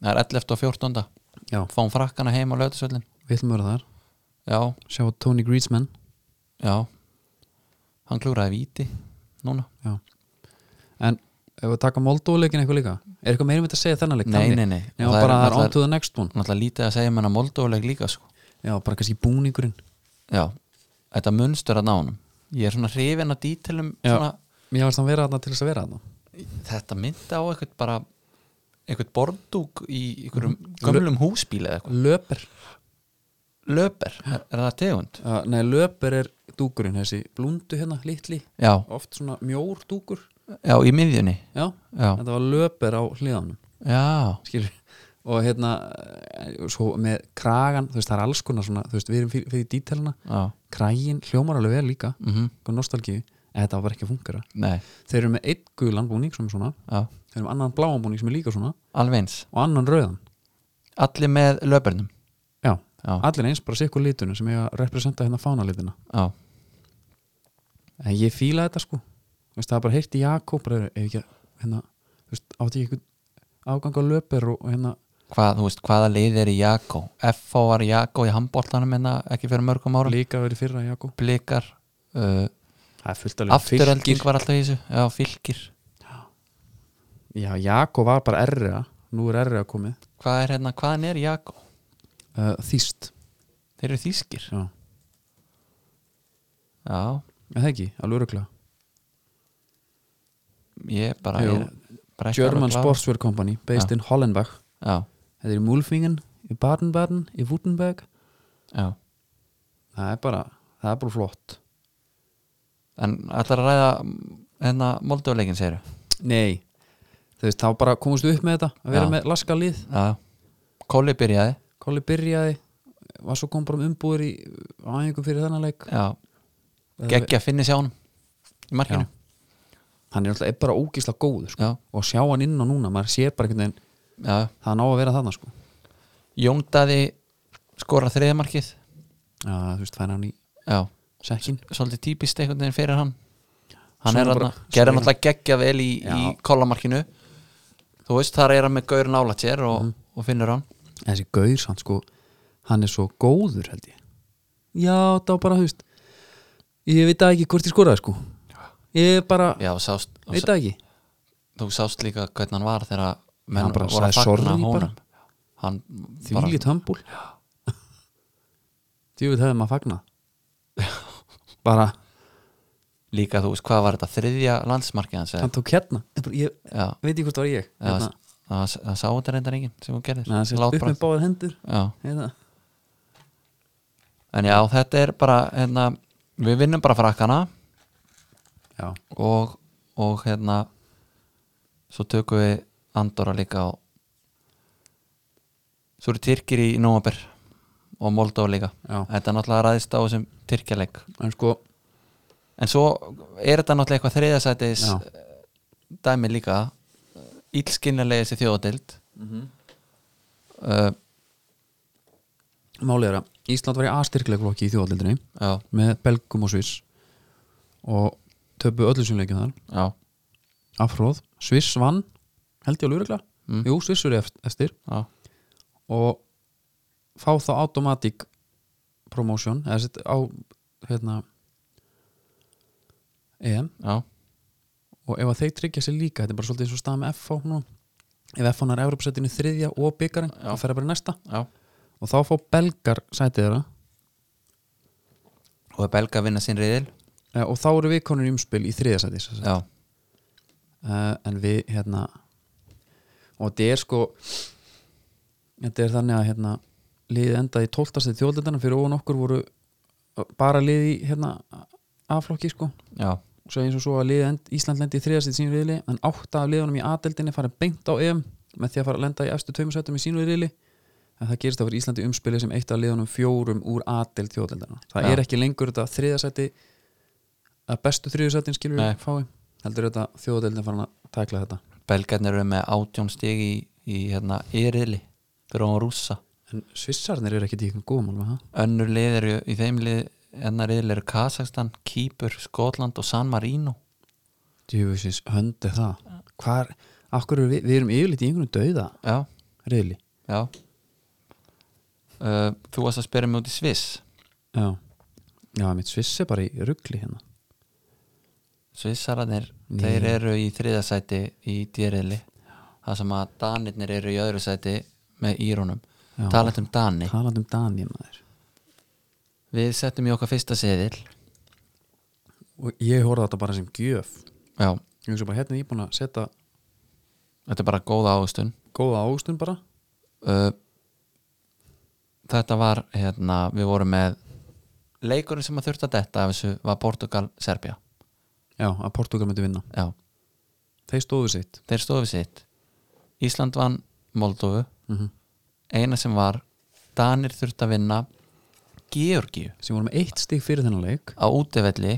[SPEAKER 2] það er 11. og 14.
[SPEAKER 1] Já.
[SPEAKER 2] fáum frakkana heim á löðisvöldin
[SPEAKER 1] Við ætlum að vera þar,
[SPEAKER 2] Já,
[SPEAKER 1] sjá Tony Griezmann
[SPEAKER 2] já hann klúraði víti núna
[SPEAKER 1] Ef við taka Moldóleikin eitthvað líka Er eitthvað meira um þetta að segja þennan leik?
[SPEAKER 2] Nei, nei, nei,
[SPEAKER 1] Já,
[SPEAKER 2] Og
[SPEAKER 1] bara það er on
[SPEAKER 2] náttúrulega,
[SPEAKER 1] to the next one
[SPEAKER 2] náttúrulega lítið að segja með hann að Moldóleg líka sko.
[SPEAKER 1] Já, bara kannski búningurinn
[SPEAKER 2] Já, þetta munstur að nánum ég er svona hrifin að dítilum
[SPEAKER 1] Já.
[SPEAKER 2] svona,
[SPEAKER 1] Mér varst að vera þarna til þess að vera þarna
[SPEAKER 2] þetta myndi á eitthvað bara eitthvað borndúk í einhverjum gömlum húsbíl eða eitthvað
[SPEAKER 1] Löper
[SPEAKER 2] löper, er, er það tegund?
[SPEAKER 1] uh, Nei, löper er dúkurinn, þessi blúndu hérna, litli
[SPEAKER 2] Já,
[SPEAKER 1] Oft svona mjór dúkur
[SPEAKER 2] já, í miðjunni
[SPEAKER 1] Já,
[SPEAKER 2] já,
[SPEAKER 1] þetta var löper á hliðanum
[SPEAKER 2] já,
[SPEAKER 1] Skilur Og hérna, eh, svo með kragan Þú veist, það er alls konar svona Þú veist, við erum fyrir, fyrir dítelina
[SPEAKER 2] já
[SPEAKER 1] Kraginn hljómar alveg vel líka
[SPEAKER 2] mm
[SPEAKER 1] Góð nostalgíu En þetta var bara ekki að fungera
[SPEAKER 2] nei,
[SPEAKER 1] Þeir eru með einn gulan búning sem er svona
[SPEAKER 2] já,
[SPEAKER 1] Þeir eru með annan bláan búning sem er líka svona
[SPEAKER 2] alveg eins
[SPEAKER 1] og annan rauðan
[SPEAKER 2] allir með löpernum
[SPEAKER 1] Já,
[SPEAKER 2] já,
[SPEAKER 1] allir eins bara sikkur litunum sem ég að representa hérna fánalitina
[SPEAKER 2] já,
[SPEAKER 1] En ég fíla þetta sko Þú veist, Það er bara heyrti Jakob bara, ef ekki, að- hérna, þú veist, átti ég eitthvað afgang á löper og, og hérna
[SPEAKER 2] hvað, þú veist, hvaða leið er í Jakó F.O. var Jakó í handbóltanum en ekki fyrir mörgum árum
[SPEAKER 1] líka verið fyrra Jakob
[SPEAKER 2] blikar, uh,
[SPEAKER 1] Það er fullt
[SPEAKER 2] afturölding var alltaf í þessu já, fylgir,
[SPEAKER 1] Já, Jakob var bara erra Nú er erra komið
[SPEAKER 2] hvað er hérna, hvaðan er Jakó?
[SPEAKER 1] uh, Þýst
[SPEAKER 2] Þeir eru þýskir
[SPEAKER 1] Já,
[SPEAKER 2] já,
[SPEAKER 1] er það ekki, alveg öruglega
[SPEAKER 2] ég bara,
[SPEAKER 1] Jú,
[SPEAKER 2] ég, er bara ekki
[SPEAKER 1] German
[SPEAKER 2] alveg klár.
[SPEAKER 1] Sportswear Company, based
[SPEAKER 2] Já.
[SPEAKER 1] in Hollenbach
[SPEAKER 2] já,
[SPEAKER 1] Þetta er í Múlfingen í Baden-Baden, í Württemberg
[SPEAKER 2] já
[SPEAKER 1] það er bara, það er bara flott
[SPEAKER 2] en ætlar að ræða hérna Moldóleikin segir
[SPEAKER 1] nei, þú veist, þá bara komumst við upp með þetta að vera
[SPEAKER 2] Já.
[SPEAKER 1] með laska lið
[SPEAKER 2] já, Kóli byrjaði
[SPEAKER 1] Kolli byrjaði, var svo kom bara um umbúður í aðeingum fyrir þennan leik
[SPEAKER 2] já,
[SPEAKER 1] Eh,
[SPEAKER 2] geggja finni sjá honum í markinu
[SPEAKER 1] Já. hann er alltaf bara ógisla góður sko.
[SPEAKER 2] já,
[SPEAKER 1] og að sjá hann inn á núna, maður sér bara einhvern veginn
[SPEAKER 2] já,
[SPEAKER 1] það ná að vera þarna sko.
[SPEAKER 2] Jóndaði skora þriðamarkið
[SPEAKER 1] já, þú veist, fær hann í
[SPEAKER 2] já,
[SPEAKER 1] sekkin
[SPEAKER 2] svolítið típist einhvern veginn fyrir hann hann
[SPEAKER 1] Svona
[SPEAKER 2] er
[SPEAKER 1] bara-
[SPEAKER 2] hann, gerði
[SPEAKER 1] svona-
[SPEAKER 2] náttúrulega geggja vel í, í
[SPEAKER 1] Já.
[SPEAKER 2] kollamarkinu þú veist, þar er hann með gaur nála sér og,
[SPEAKER 1] Mhm.
[SPEAKER 2] og finnur hann
[SPEAKER 1] En þessi gaur hann sko hann er svo góður held ég já þá bara þú veist ég veit það ekki hvort ég skoraði sko ég bara
[SPEAKER 2] já, og sást, og
[SPEAKER 1] veit
[SPEAKER 2] sá,
[SPEAKER 1] það ekki
[SPEAKER 2] þú sást líka hvernig hann var þegar
[SPEAKER 1] Hann
[SPEAKER 2] menn
[SPEAKER 1] bara
[SPEAKER 2] voru að
[SPEAKER 1] sagði
[SPEAKER 2] fagna
[SPEAKER 1] sorry bara.
[SPEAKER 2] honum hann bara,
[SPEAKER 1] því lít hömbul því við höfum að fagna bara
[SPEAKER 2] líka þú veist hvað var þetta þriðja landsmarkið hans eða?
[SPEAKER 1] hann tók hérna ég, bara- ég
[SPEAKER 2] já,
[SPEAKER 1] veit ekki hvort það var ég
[SPEAKER 2] já,
[SPEAKER 1] hérna.
[SPEAKER 2] það það sá þetta reyndar enginn sem hún gerðir
[SPEAKER 1] Nei, hann sést upp
[SPEAKER 2] Látbragð.
[SPEAKER 1] með báðar hendur
[SPEAKER 2] já
[SPEAKER 1] hérna.
[SPEAKER 2] En já, þetta er bara hérna, við vinnum bara frakkana
[SPEAKER 1] já,
[SPEAKER 2] og, og hérna svo tökum við Andorra líka og svo eru Tyrkir í Nómaber og Moldóð líka
[SPEAKER 1] já
[SPEAKER 2] þetta er náttúrulega ræðist á þessum Tyrkjaleik
[SPEAKER 1] en sko
[SPEAKER 2] en svo er þetta náttúrulega eitthvað þriðasætis
[SPEAKER 1] Já.
[SPEAKER 2] dæmi líka ílskinnilegi þessi þjóðadild
[SPEAKER 1] Mhm.
[SPEAKER 2] uh,
[SPEAKER 1] málið er að Ísland var í A-styrkleikflokki í þjóðaldildinni
[SPEAKER 2] já,
[SPEAKER 1] með Belgum og Sviss og töpu öllu sínleikin þar
[SPEAKER 2] já,
[SPEAKER 1] afhróð, Sviss vann held ég alveg örugglega,
[SPEAKER 2] Mm.
[SPEAKER 1] jú Sviss eru eft- eftir
[SPEAKER 2] já,
[SPEAKER 1] og fá þá automatic promotion eða sitt á hérna EM
[SPEAKER 2] já,
[SPEAKER 1] og ef að þeir tryggja sér líka, þetta er bara svolítið eins og stað með FH nú ef FH nær Evropasettinu þriðja og byggarinn
[SPEAKER 2] Já.
[SPEAKER 1] þá fer það bara í næsta
[SPEAKER 2] já
[SPEAKER 1] og þá fá belgar sætið þeirra
[SPEAKER 2] og er Belga að vinna sinn riðil
[SPEAKER 1] eh, og þá eru við konur í umspil í þriðja sæti sem sagt.
[SPEAKER 2] já,
[SPEAKER 1] uh, en við hérna og þetta er sko þetta er þannig að hérna liðið endaði í 12. stið þjóðlindana fyrir ofan okkur voru bara liði hérna afflokki sko
[SPEAKER 2] já,
[SPEAKER 1] svo eins og svo að liðið end, Ísland lendi í þriðastið sínu riðli en átta af liðunum í aðeldinni fara beint á EM með því að fara að lenda í efstu tveimur sætum í sínu riðli en það gerist að fyrir Íslandi umspilið sem eitt af liðunum fjórum úr aðeld þjóðlindana það
[SPEAKER 2] Já.
[SPEAKER 1] er ekki lengur þetta þriðasæti að bestu þriðasætin skilur
[SPEAKER 2] Nei.
[SPEAKER 1] við fái heldur þetta þjóðlindin farin að tækla þetta
[SPEAKER 2] Belgarnir eru með átjón stig í, í hérna, eriðli fyrir án rússa
[SPEAKER 1] en svissarnir eru ekki tíkum góðum alveg ha?
[SPEAKER 2] önnur lið eru í þeim lið hennar riðil eru Kazakstan, Kýpur, Skotland og San Marino
[SPEAKER 1] djöfusins höndi það hvar, akkur eru við, við erum yfirleitt í einhvern dauða
[SPEAKER 2] já,
[SPEAKER 1] riðli
[SPEAKER 2] já uh, þú varst að spyrja mig út í Sviss
[SPEAKER 1] já, já mitt sviss er bara í ruggli hérna
[SPEAKER 2] Svissararnir,
[SPEAKER 1] Ný.
[SPEAKER 2] þeir eru í þriðasæti í dýriðli það sem að Danirnir eru í öðru sæti með Írunum,
[SPEAKER 1] Já.
[SPEAKER 2] talat um Dani
[SPEAKER 1] talandi um Dani maður
[SPEAKER 2] við settum í okkar fyrsta seðil
[SPEAKER 1] og ég horfði á þetta bara sem gjöf
[SPEAKER 2] já,
[SPEAKER 1] ég hugsa bara hérna er ég búin að setja
[SPEAKER 2] þetta er bara góða águstun
[SPEAKER 1] góða águstun bara
[SPEAKER 2] uh, þetta var hérna, við vorum með leikurinn sem að þurfti að detta af þessu var Portugal-Serbia
[SPEAKER 1] já, að Portugal myndi vinna
[SPEAKER 2] já,
[SPEAKER 1] þeir stóðu sitt
[SPEAKER 2] þeir stóðu við sitt Ísland vann Moldófu
[SPEAKER 1] mm
[SPEAKER 2] eina sem var, Danir þurfti að vinna Georgíu
[SPEAKER 1] sem voru með eitt stig fyrir þennan leik
[SPEAKER 2] á útivelli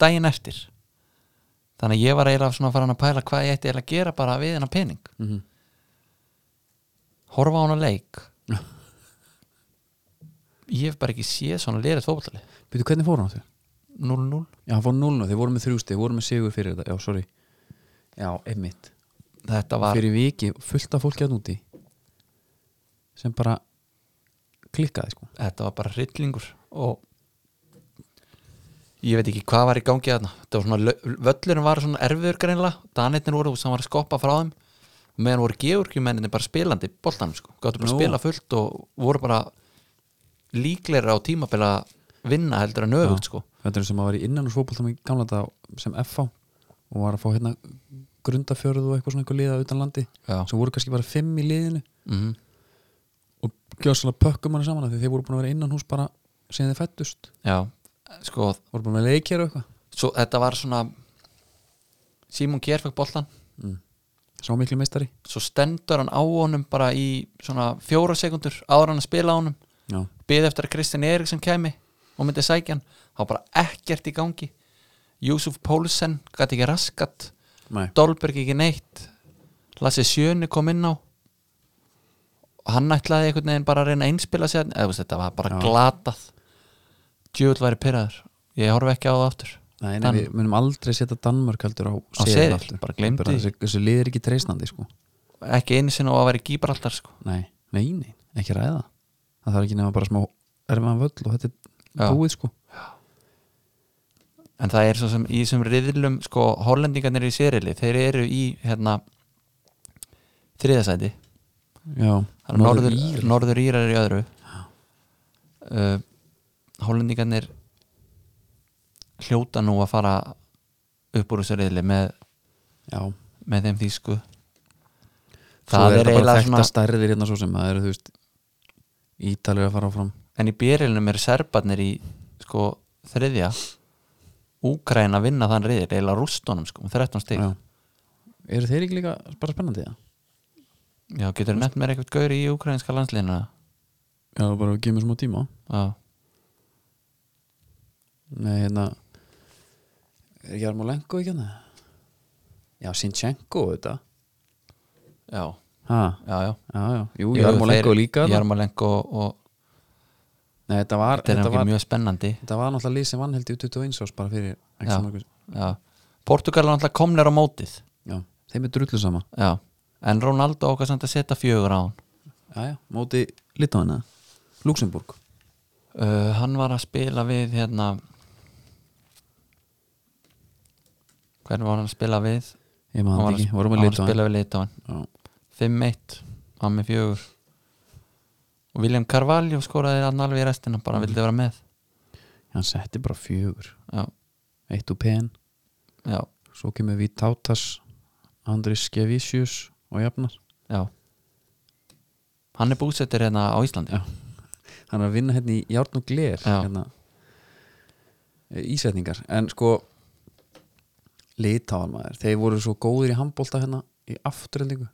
[SPEAKER 2] daginn eftir þannig að ég var eiginlega svona að fara hann að pæla hvað ég ætti eiginlega að gera bara við hennar pening
[SPEAKER 1] mm
[SPEAKER 2] horfa á hann að leik ég hef bara ekki séð svona lirið fótballtali
[SPEAKER 1] byrju hvernig fór hann á þau?
[SPEAKER 2] 0-0
[SPEAKER 1] já, hann fór 0 þeir voru með þrjú stig, voru með sigur fyrir þetta já, sorry já, einmitt
[SPEAKER 2] þetta var
[SPEAKER 1] fyrir viki fullt af fólki að núti sem bara klikkaði sko
[SPEAKER 2] þetta var bara hryllingur og ég veit ekki hvað var í gangi þarna þetta var svona, lau- völlurinn var svona erfiður greinlega, danetnir voru sem var að skoppa frá þeim og meðan voru geurkjumenninni bara spilandi boltanum sko, gáttu bara
[SPEAKER 1] Nú.
[SPEAKER 2] að spila fullt og voru bara líkleira á tímabila vinna heldur en öfugt sko
[SPEAKER 1] þetta er sem að vera í innan og svóbóltum í gamla þetta sem FH og var að fá hérna grundafjörðu og eitthvað svona eitthvað liða utan landi
[SPEAKER 2] já, mhm,
[SPEAKER 1] sem voru kannski bara fimm í liðinu
[SPEAKER 2] mm
[SPEAKER 1] og gjössalega pökkum hann saman af því þeir voru búin að vera innan hús bara síðan þeir fættust,
[SPEAKER 2] já, sko
[SPEAKER 1] voru búin að leikjera eitthvað
[SPEAKER 2] svo, þetta var svona Simon Kjær fekk boltan
[SPEAKER 1] sá miklu meistari
[SPEAKER 2] svo stendur hann á honum bara í svona fjóra sekundur ára hann að spila á honum
[SPEAKER 1] já,
[SPEAKER 2] bið eftir að Kristján Eriksson kæmi og myndi sækja hann, þá var bara ekkert í gangi Júsuf Pólsen gæti ekki raskat,
[SPEAKER 1] nei,
[SPEAKER 2] Dolberg ekki neitt Lassi Sjöni kom inn á og hann ætlaði einhvern veginn bara að reyna að einspila sér eða þú veist, þetta var bara
[SPEAKER 1] Já.
[SPEAKER 2] glatað djöfull væri pyrraður ég horfi ekki á það aftur
[SPEAKER 1] nei, nei
[SPEAKER 2] Dan-
[SPEAKER 1] við munum aldrei setja Danmark heldur á,
[SPEAKER 2] Á
[SPEAKER 1] seðil
[SPEAKER 2] seðil,
[SPEAKER 1] aftur.
[SPEAKER 2] bara gleymdu því.
[SPEAKER 1] þessi, þessi lið er ekki treysnandi sko.
[SPEAKER 2] ekki einu sinni á að vera gíbraldar sko.
[SPEAKER 1] nei, nei, nei, ekki ræða það. það þarf ekki nefna bara smá erfiðan völl og þetta
[SPEAKER 2] Já.
[SPEAKER 1] er búið sko
[SPEAKER 2] en það er svo sem í þessum riðlum sko, hollendingarnir í sérili, þeir eru í hérna þriðasæti
[SPEAKER 1] já,
[SPEAKER 2] Það eru Norður,
[SPEAKER 1] Ír.
[SPEAKER 2] Írar. Norður Írar í öðru uh, Hollendingarnir hljóta nú að fara upp úr þessu reyðli með,
[SPEAKER 1] já,
[SPEAKER 2] með þeim þýsku Það
[SPEAKER 1] það
[SPEAKER 2] er
[SPEAKER 1] er, þetta bara
[SPEAKER 2] eiginlega
[SPEAKER 1] þekta
[SPEAKER 2] svona
[SPEAKER 1] stærðir hérna svo sem það eru þú veist Ítalir að fara áfram
[SPEAKER 2] en í byrjunum eru serbarnir í sko þriðja Úkraina vinna þann reyðil eiginlega rústunum sko, um 13 stig Já,
[SPEAKER 1] Já. eru þeir ekki líka bara spennandi það?
[SPEAKER 2] getur nefnt mér eitthvað gauri í úkrainska landsliðina
[SPEAKER 1] já, bara gefum við smá tíma
[SPEAKER 2] Já,
[SPEAKER 1] Nei, hérna Er Jarmolenko ekki hérna? hann? Já, Sinchenko þetta
[SPEAKER 2] já,
[SPEAKER 1] Ha,
[SPEAKER 2] já, já.
[SPEAKER 1] já, já, jú,
[SPEAKER 2] Jú,
[SPEAKER 1] Jarmolenko
[SPEAKER 2] þeir-
[SPEAKER 1] líka þarna.
[SPEAKER 2] Jarmolenko og
[SPEAKER 1] Nei, þetta var,
[SPEAKER 2] þetta er
[SPEAKER 1] þetta
[SPEAKER 2] ekki
[SPEAKER 1] var,
[SPEAKER 2] mjög spennandi
[SPEAKER 1] þetta var náttúrulega lýsið vannheldi 21 ás bara fyrir ekki
[SPEAKER 2] Já.
[SPEAKER 1] svo mörgur
[SPEAKER 2] Já, Portugal er náttúrulega komnir á mótið
[SPEAKER 1] Já, þeim er drullu sama
[SPEAKER 2] Já, en Ronaldo okkar samt að setja fjögur á hann
[SPEAKER 1] Já, já, móti Litáina Luxemburg
[SPEAKER 2] uh, Hann var að spila við hérna Hvernig var hann að spila við? Hann
[SPEAKER 1] Ég maður
[SPEAKER 2] var
[SPEAKER 1] hann
[SPEAKER 2] að,
[SPEAKER 1] ekki, vorum
[SPEAKER 2] hann var
[SPEAKER 1] að
[SPEAKER 2] að
[SPEAKER 1] Litáina
[SPEAKER 2] spila við Litáin
[SPEAKER 1] Já,
[SPEAKER 2] 5-1, hann með fjögur Og William Carvalho skoraði hann alveg í restina bara vildi vera með
[SPEAKER 1] hann setti bara fjögur
[SPEAKER 2] Já,
[SPEAKER 1] Eitt úr pen,
[SPEAKER 2] já,
[SPEAKER 1] svo kemur við Tátas Andris Skevisius og jafnar
[SPEAKER 2] já Hann er búsettur hérna á Íslandi
[SPEAKER 1] Já. hann er að vinna hérna í Járn og Gler
[SPEAKER 2] Já.
[SPEAKER 1] hérna, eh, ísetningar en sko litáðan maður, þeir voru svo góðir í handbólta hérna í afturhendingu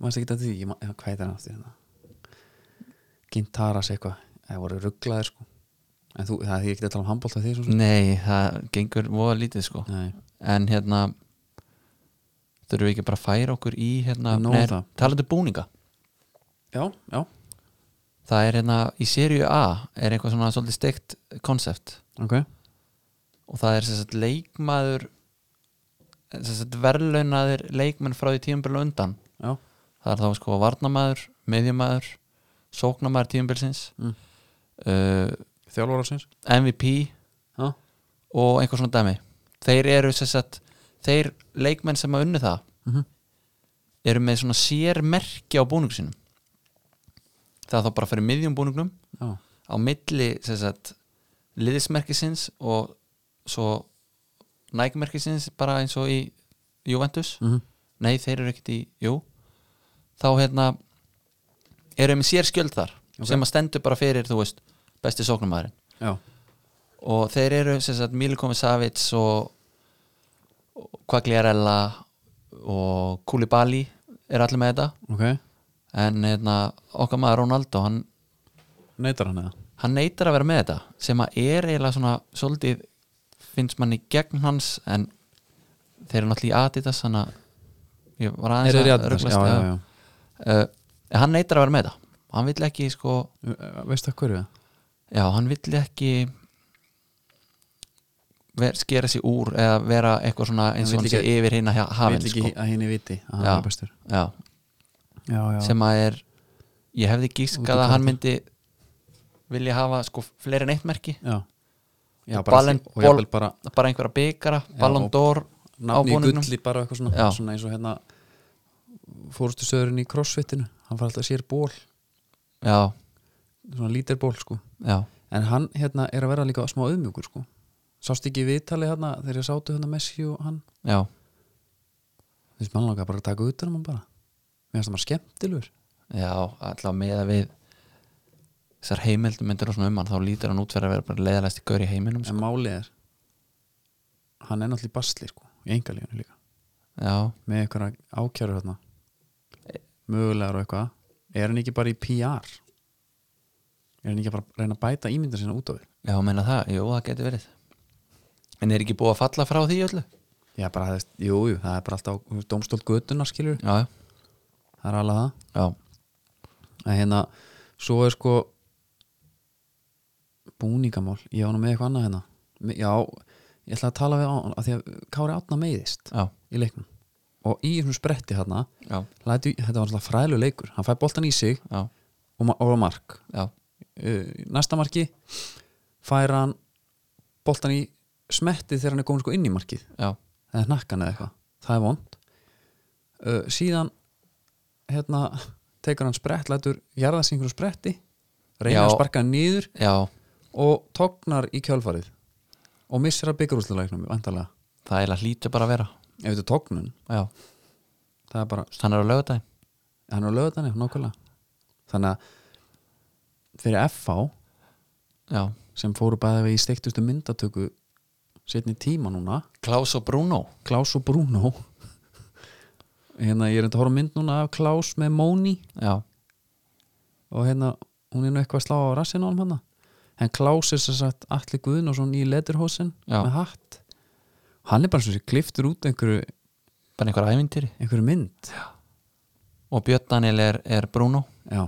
[SPEAKER 1] maður ekki að því, ég man- eh, hvað er það aftur hérna Gintaras eitthvað það voru rugglaðir sko en þú, það er því ekki að tala um handbólta því svo sem
[SPEAKER 2] Nei, það gengur voða lítið sko
[SPEAKER 1] Nei,
[SPEAKER 2] en hérna þurfum við ekki bara að færa okkur í hérna,
[SPEAKER 1] Nóg
[SPEAKER 2] nei,
[SPEAKER 1] það.
[SPEAKER 2] talandi um búninga
[SPEAKER 1] já, já,
[SPEAKER 2] það er hérna í sériu A er eitthvað svona svolítið steikt konsept
[SPEAKER 1] ok
[SPEAKER 2] og það er sem sagt leikmaður sem sagt verðlaunaðir leikmenn frá því tíumbil undan
[SPEAKER 1] já,
[SPEAKER 2] það er þá sko varnamaður, miðjamaður sóknamaður tíumbilsins
[SPEAKER 1] Mm.
[SPEAKER 2] uh,
[SPEAKER 1] þjálfur ásins
[SPEAKER 2] MVP
[SPEAKER 1] já,
[SPEAKER 2] og einhver svona dæmi þeir eru sem sagt þeir leikmenn sem að unnu það
[SPEAKER 1] Mhm.
[SPEAKER 2] eru með svona sérmerki á búningum sínum það er þá bara fyrir miðjum búningnum
[SPEAKER 1] já,
[SPEAKER 2] á milli sem sagt liðismerkisins og svo nægmerkisins bara eins og í Juventus
[SPEAKER 1] mm
[SPEAKER 2] nei þeir eru ekkert í, jú þá hérna eru með sérskjöld þar
[SPEAKER 1] Ok.
[SPEAKER 2] sem að stendur bara fyrir þú veist besti sóknumæðurinn
[SPEAKER 1] já,
[SPEAKER 2] og þeir eru sem sagt Milkomi Savic og Quagliarella og Koulibaly er allir með þetta
[SPEAKER 1] ok
[SPEAKER 2] en hérna, okkar maður Ronaldo hann,
[SPEAKER 1] neytar hann eða
[SPEAKER 2] hann neytar að vera með þetta sem að er eiginlega svona svolítið finnst manni gegn hans en þeir eru náttúrulega í Adidas þannig að ég var
[SPEAKER 1] Nei,
[SPEAKER 2] aðeins
[SPEAKER 1] þeir eru í Adidas,
[SPEAKER 2] ruglast,
[SPEAKER 1] já, já,
[SPEAKER 2] já.
[SPEAKER 1] já.
[SPEAKER 2] Uh, en hann neytar að vera með þetta hann vill ekki sko
[SPEAKER 1] Uh, veistu að hverju það?
[SPEAKER 2] Já, hann vill ekki ver, skera sig úr eða vera eitthvað svona eins
[SPEAKER 1] Hann
[SPEAKER 2] og hann
[SPEAKER 1] vill
[SPEAKER 2] sé
[SPEAKER 1] ekki-
[SPEAKER 2] yfir hinn að hafinn
[SPEAKER 1] vill ekki
[SPEAKER 2] sko.
[SPEAKER 1] að henni viti að hann
[SPEAKER 2] Já.
[SPEAKER 1] er bestur
[SPEAKER 2] Já,
[SPEAKER 1] já, já.
[SPEAKER 2] sem að er ég hefði
[SPEAKER 1] Út í
[SPEAKER 2] gískað að hann
[SPEAKER 1] kaldan.
[SPEAKER 2] myndi vilja hafa sko fleiri en eitt merki
[SPEAKER 1] já. Já,
[SPEAKER 2] Og
[SPEAKER 1] bara
[SPEAKER 2] Ballon-
[SPEAKER 1] því- og jafnvel bara
[SPEAKER 2] bara einhverja bygara, Ballon
[SPEAKER 1] og
[SPEAKER 2] d'Or á
[SPEAKER 1] nafni í
[SPEAKER 2] búningnum.
[SPEAKER 1] gulli bara eitthvað
[SPEAKER 2] Já.
[SPEAKER 1] svona, svona eins og hérna fórustu söðurinn í crossfitinu hann fara alltaf sér ból,
[SPEAKER 2] Já,
[SPEAKER 1] svona lítir ból sko
[SPEAKER 2] já,
[SPEAKER 1] en hann hérna er að vera líka smá auðmjúkur sko sást ekki viðtali hérna þegar ég sátu hérna Messi og hann
[SPEAKER 2] já
[SPEAKER 1] þessi mann langar bara að taka utan um hann bara mér finnst það bara skemmtilegur
[SPEAKER 2] já, allavega með að við þessar heimildmyndir og svona um hann þá lítur hann út fyrir að vera bara leiðalæst í gaur í heiminum sko.
[SPEAKER 1] en málið er hann er náttúrulega í basli sko, í engalíðinu líka
[SPEAKER 2] já,
[SPEAKER 1] með eitthvað ákjæru hérna mögulegar og eitthvað er hann ekki bara í PR er hann ekki bara að reyna að bæta ímyndar sinna út á því
[SPEAKER 2] já, meina það, jú, það getur verið en er ekki búið að falla frá því öllu?
[SPEAKER 1] já bara það er, jú, jú, það er bara alltaf domstólt göttunar skilur,
[SPEAKER 2] já, já,
[SPEAKER 1] það er alveg það
[SPEAKER 2] já,
[SPEAKER 1] að hérna, svo er sko búningamál ég var nú með eitthvað annað hérna Me- já, ég ætla að tala við á að því að Kári Átna meiðist
[SPEAKER 2] já,
[SPEAKER 1] í leiknum og í þessum spretti hérna
[SPEAKER 2] já,
[SPEAKER 1] lætu, þetta var alltaf fræðlu leikur hann fæ boltan í sig
[SPEAKER 2] já,
[SPEAKER 1] og, ma- og á mark
[SPEAKER 2] já.
[SPEAKER 1] uh, næsta marki fær hann boltan í smettið þegar hann er komin sko inn í markið
[SPEAKER 2] já,
[SPEAKER 1] eða hnakkan eða eitthvað, það er vond uh, síðan hérna tekur hann sprett, lætur jarða sig einhverju spretti reynir
[SPEAKER 2] Já.
[SPEAKER 1] að sparka hann niður
[SPEAKER 2] já,
[SPEAKER 1] og tognar í kjölfarið og missir að byggarúsluleiknum vantarlega,
[SPEAKER 2] það er eiginlega hlýtur bara að vera
[SPEAKER 1] ef þetta er tognun
[SPEAKER 2] já,
[SPEAKER 1] það er bara,
[SPEAKER 2] hann er á lögudaginn
[SPEAKER 1] hann er á lögðanir, nákvæmlega þannig að fyrir FH
[SPEAKER 2] já,
[SPEAKER 1] sem fóru bæði við í steiktustu myndatöku setni tíma núna
[SPEAKER 2] Klaus og Bruno
[SPEAKER 1] Klaus og Bruno hérna ég er enda að horfa á mynd núna af Klaus með Móni
[SPEAKER 2] já,
[SPEAKER 1] og hérna hún er nú eitthvað að slá á rassin á hann hann en Klaus er sem sagt allir guðin og svona í leturhósin
[SPEAKER 2] Já.
[SPEAKER 1] með hatt hann er bara svona kliftur út einhverju,
[SPEAKER 2] bara einhver ævintýri
[SPEAKER 1] einhverju mynd
[SPEAKER 2] og Björn Daniel er, er Bruno
[SPEAKER 1] já,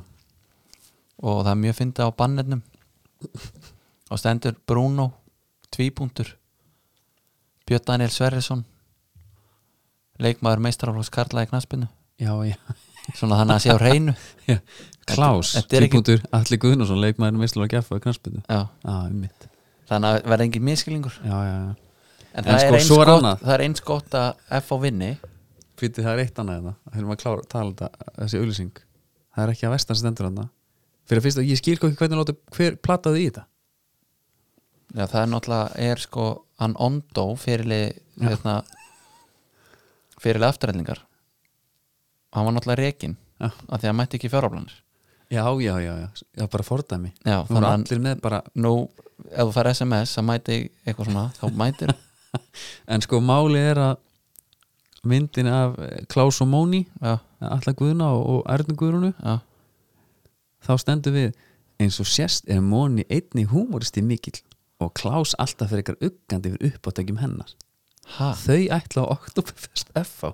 [SPEAKER 2] og það er mjög fyndið á bannernum og stendur Bruno tvíbúndur Björn Daniel Sverrisson leikmaður meistaraflóks Karla í knaspinu
[SPEAKER 1] já, já
[SPEAKER 2] svona þannig að sé á reynu
[SPEAKER 1] Klaus,
[SPEAKER 2] Þetta- þetta er ekki-
[SPEAKER 1] típundur, allir guðin og svona leikmaðurinn veistlega að gefa og knarspinu
[SPEAKER 2] já,
[SPEAKER 1] já, um mitt
[SPEAKER 2] þannig að verða engin miskilingur
[SPEAKER 1] já, já, já
[SPEAKER 2] en,
[SPEAKER 1] En
[SPEAKER 2] það,
[SPEAKER 1] sko,
[SPEAKER 2] er eins
[SPEAKER 1] svo er
[SPEAKER 2] gott,
[SPEAKER 1] annað.
[SPEAKER 2] það er eins gott að F á vinni
[SPEAKER 1] Fyrir það er eitt annað hérna Þegar maður klára að tala þetta, þessi auðlýsing Það er ekki að vestan sem stendur hérna Fyrir að fyrsta, ég skil ekki hvernig láta hver plattaði í þetta
[SPEAKER 2] Já, það er náttúrulega er sko hann ondó fyrirlið hérna, fyrirlið afturrelningar hann var náttúrulega rekin
[SPEAKER 1] Já.
[SPEAKER 2] af því að hann mætti ekki fjáraflanir
[SPEAKER 1] Já, já, já, já, já bara fordæmi
[SPEAKER 2] Já, þannig
[SPEAKER 1] Nú eru
[SPEAKER 2] að hann-
[SPEAKER 1] allir með bara
[SPEAKER 2] nú, ef þú fær SMS að mæti eitthvað svona, þá mætir
[SPEAKER 1] En sko, málið er að myndin af eh, Klaus og Móni
[SPEAKER 2] já,
[SPEAKER 1] Alla Guðuna og, og Erna Guðrunu
[SPEAKER 2] já,
[SPEAKER 1] Þá stendur við Eins og sérst er Móni einni húmoristi mikill Og Klaus alltaf fyrir ykkar uggandi Fyrir uppátækjum hennar
[SPEAKER 2] ha,
[SPEAKER 1] Þau ætla á Oktoberfest FH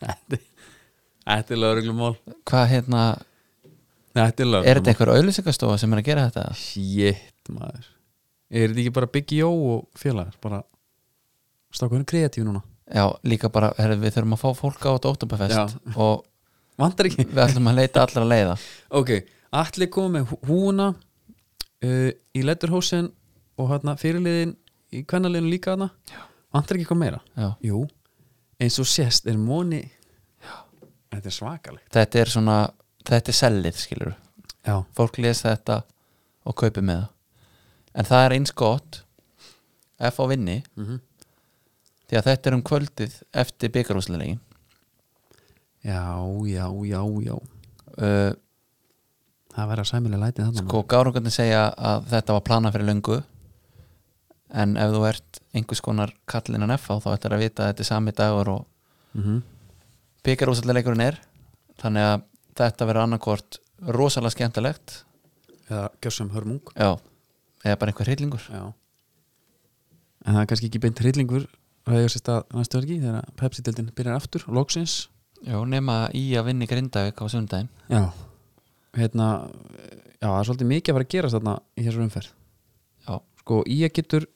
[SPEAKER 1] Þetta er- Þetta er lögreglumál
[SPEAKER 2] hvað hérna
[SPEAKER 1] Þetta er lögreglumál
[SPEAKER 2] er þetta einhver auðlýsingastofa sem er að gera þetta
[SPEAKER 1] Shit maður Er þetta ekki bara Biggie Jó og félagar bara stáku henni kreatív núna
[SPEAKER 2] já, líka bara, herri, við þurfum að fá fólk á þetta óttabafest og
[SPEAKER 1] Vandar ekki
[SPEAKER 2] við ætlum að leita allra leiða
[SPEAKER 1] Ok, allir komið með hú- húuna uh, í letterhósin og hérna fyrirliðin í kvennaliðinu líka hana Vandar ekki eitthvað meira
[SPEAKER 2] já.
[SPEAKER 1] Jú, eins og sést er Móni Þetta er svakalegt
[SPEAKER 2] þetta er svona, þetta er sellið skilur
[SPEAKER 1] Já,
[SPEAKER 2] fólk les þetta og kaupi með það en það er eins gott F á vinni
[SPEAKER 1] Mhm.
[SPEAKER 2] því að þetta er um kvöldið eftir byggarhúslegin
[SPEAKER 1] já, já, já, já
[SPEAKER 2] uh,
[SPEAKER 1] Það verður að sæmilega lætið þarna
[SPEAKER 2] sko gárungarnir segja að þetta var planað fyrir löngu en ef þú ert einhvers konar kallinan F á þá ættir að vita að þetta er sami dagur og
[SPEAKER 1] mm -hmm.
[SPEAKER 2] byggarhúslegleikurinn er þannig að þetta verður annarkvort rosalega skemmtilegt
[SPEAKER 1] Eða gjössum hörmung
[SPEAKER 2] já, eða bara einhver hryllingur
[SPEAKER 1] Já En það er kannski ekki beint hryllingur Það er sérst að næstu helgi þegar að Pepsi-dildin byrjar aftur, loksins
[SPEAKER 2] já, nema í að vinni Grindavík á sundaginn
[SPEAKER 1] Já Hérna, já, það er svolítið mikið að fara að gera þarna í þessu umferð
[SPEAKER 2] já,
[SPEAKER 1] Sko, Ía getur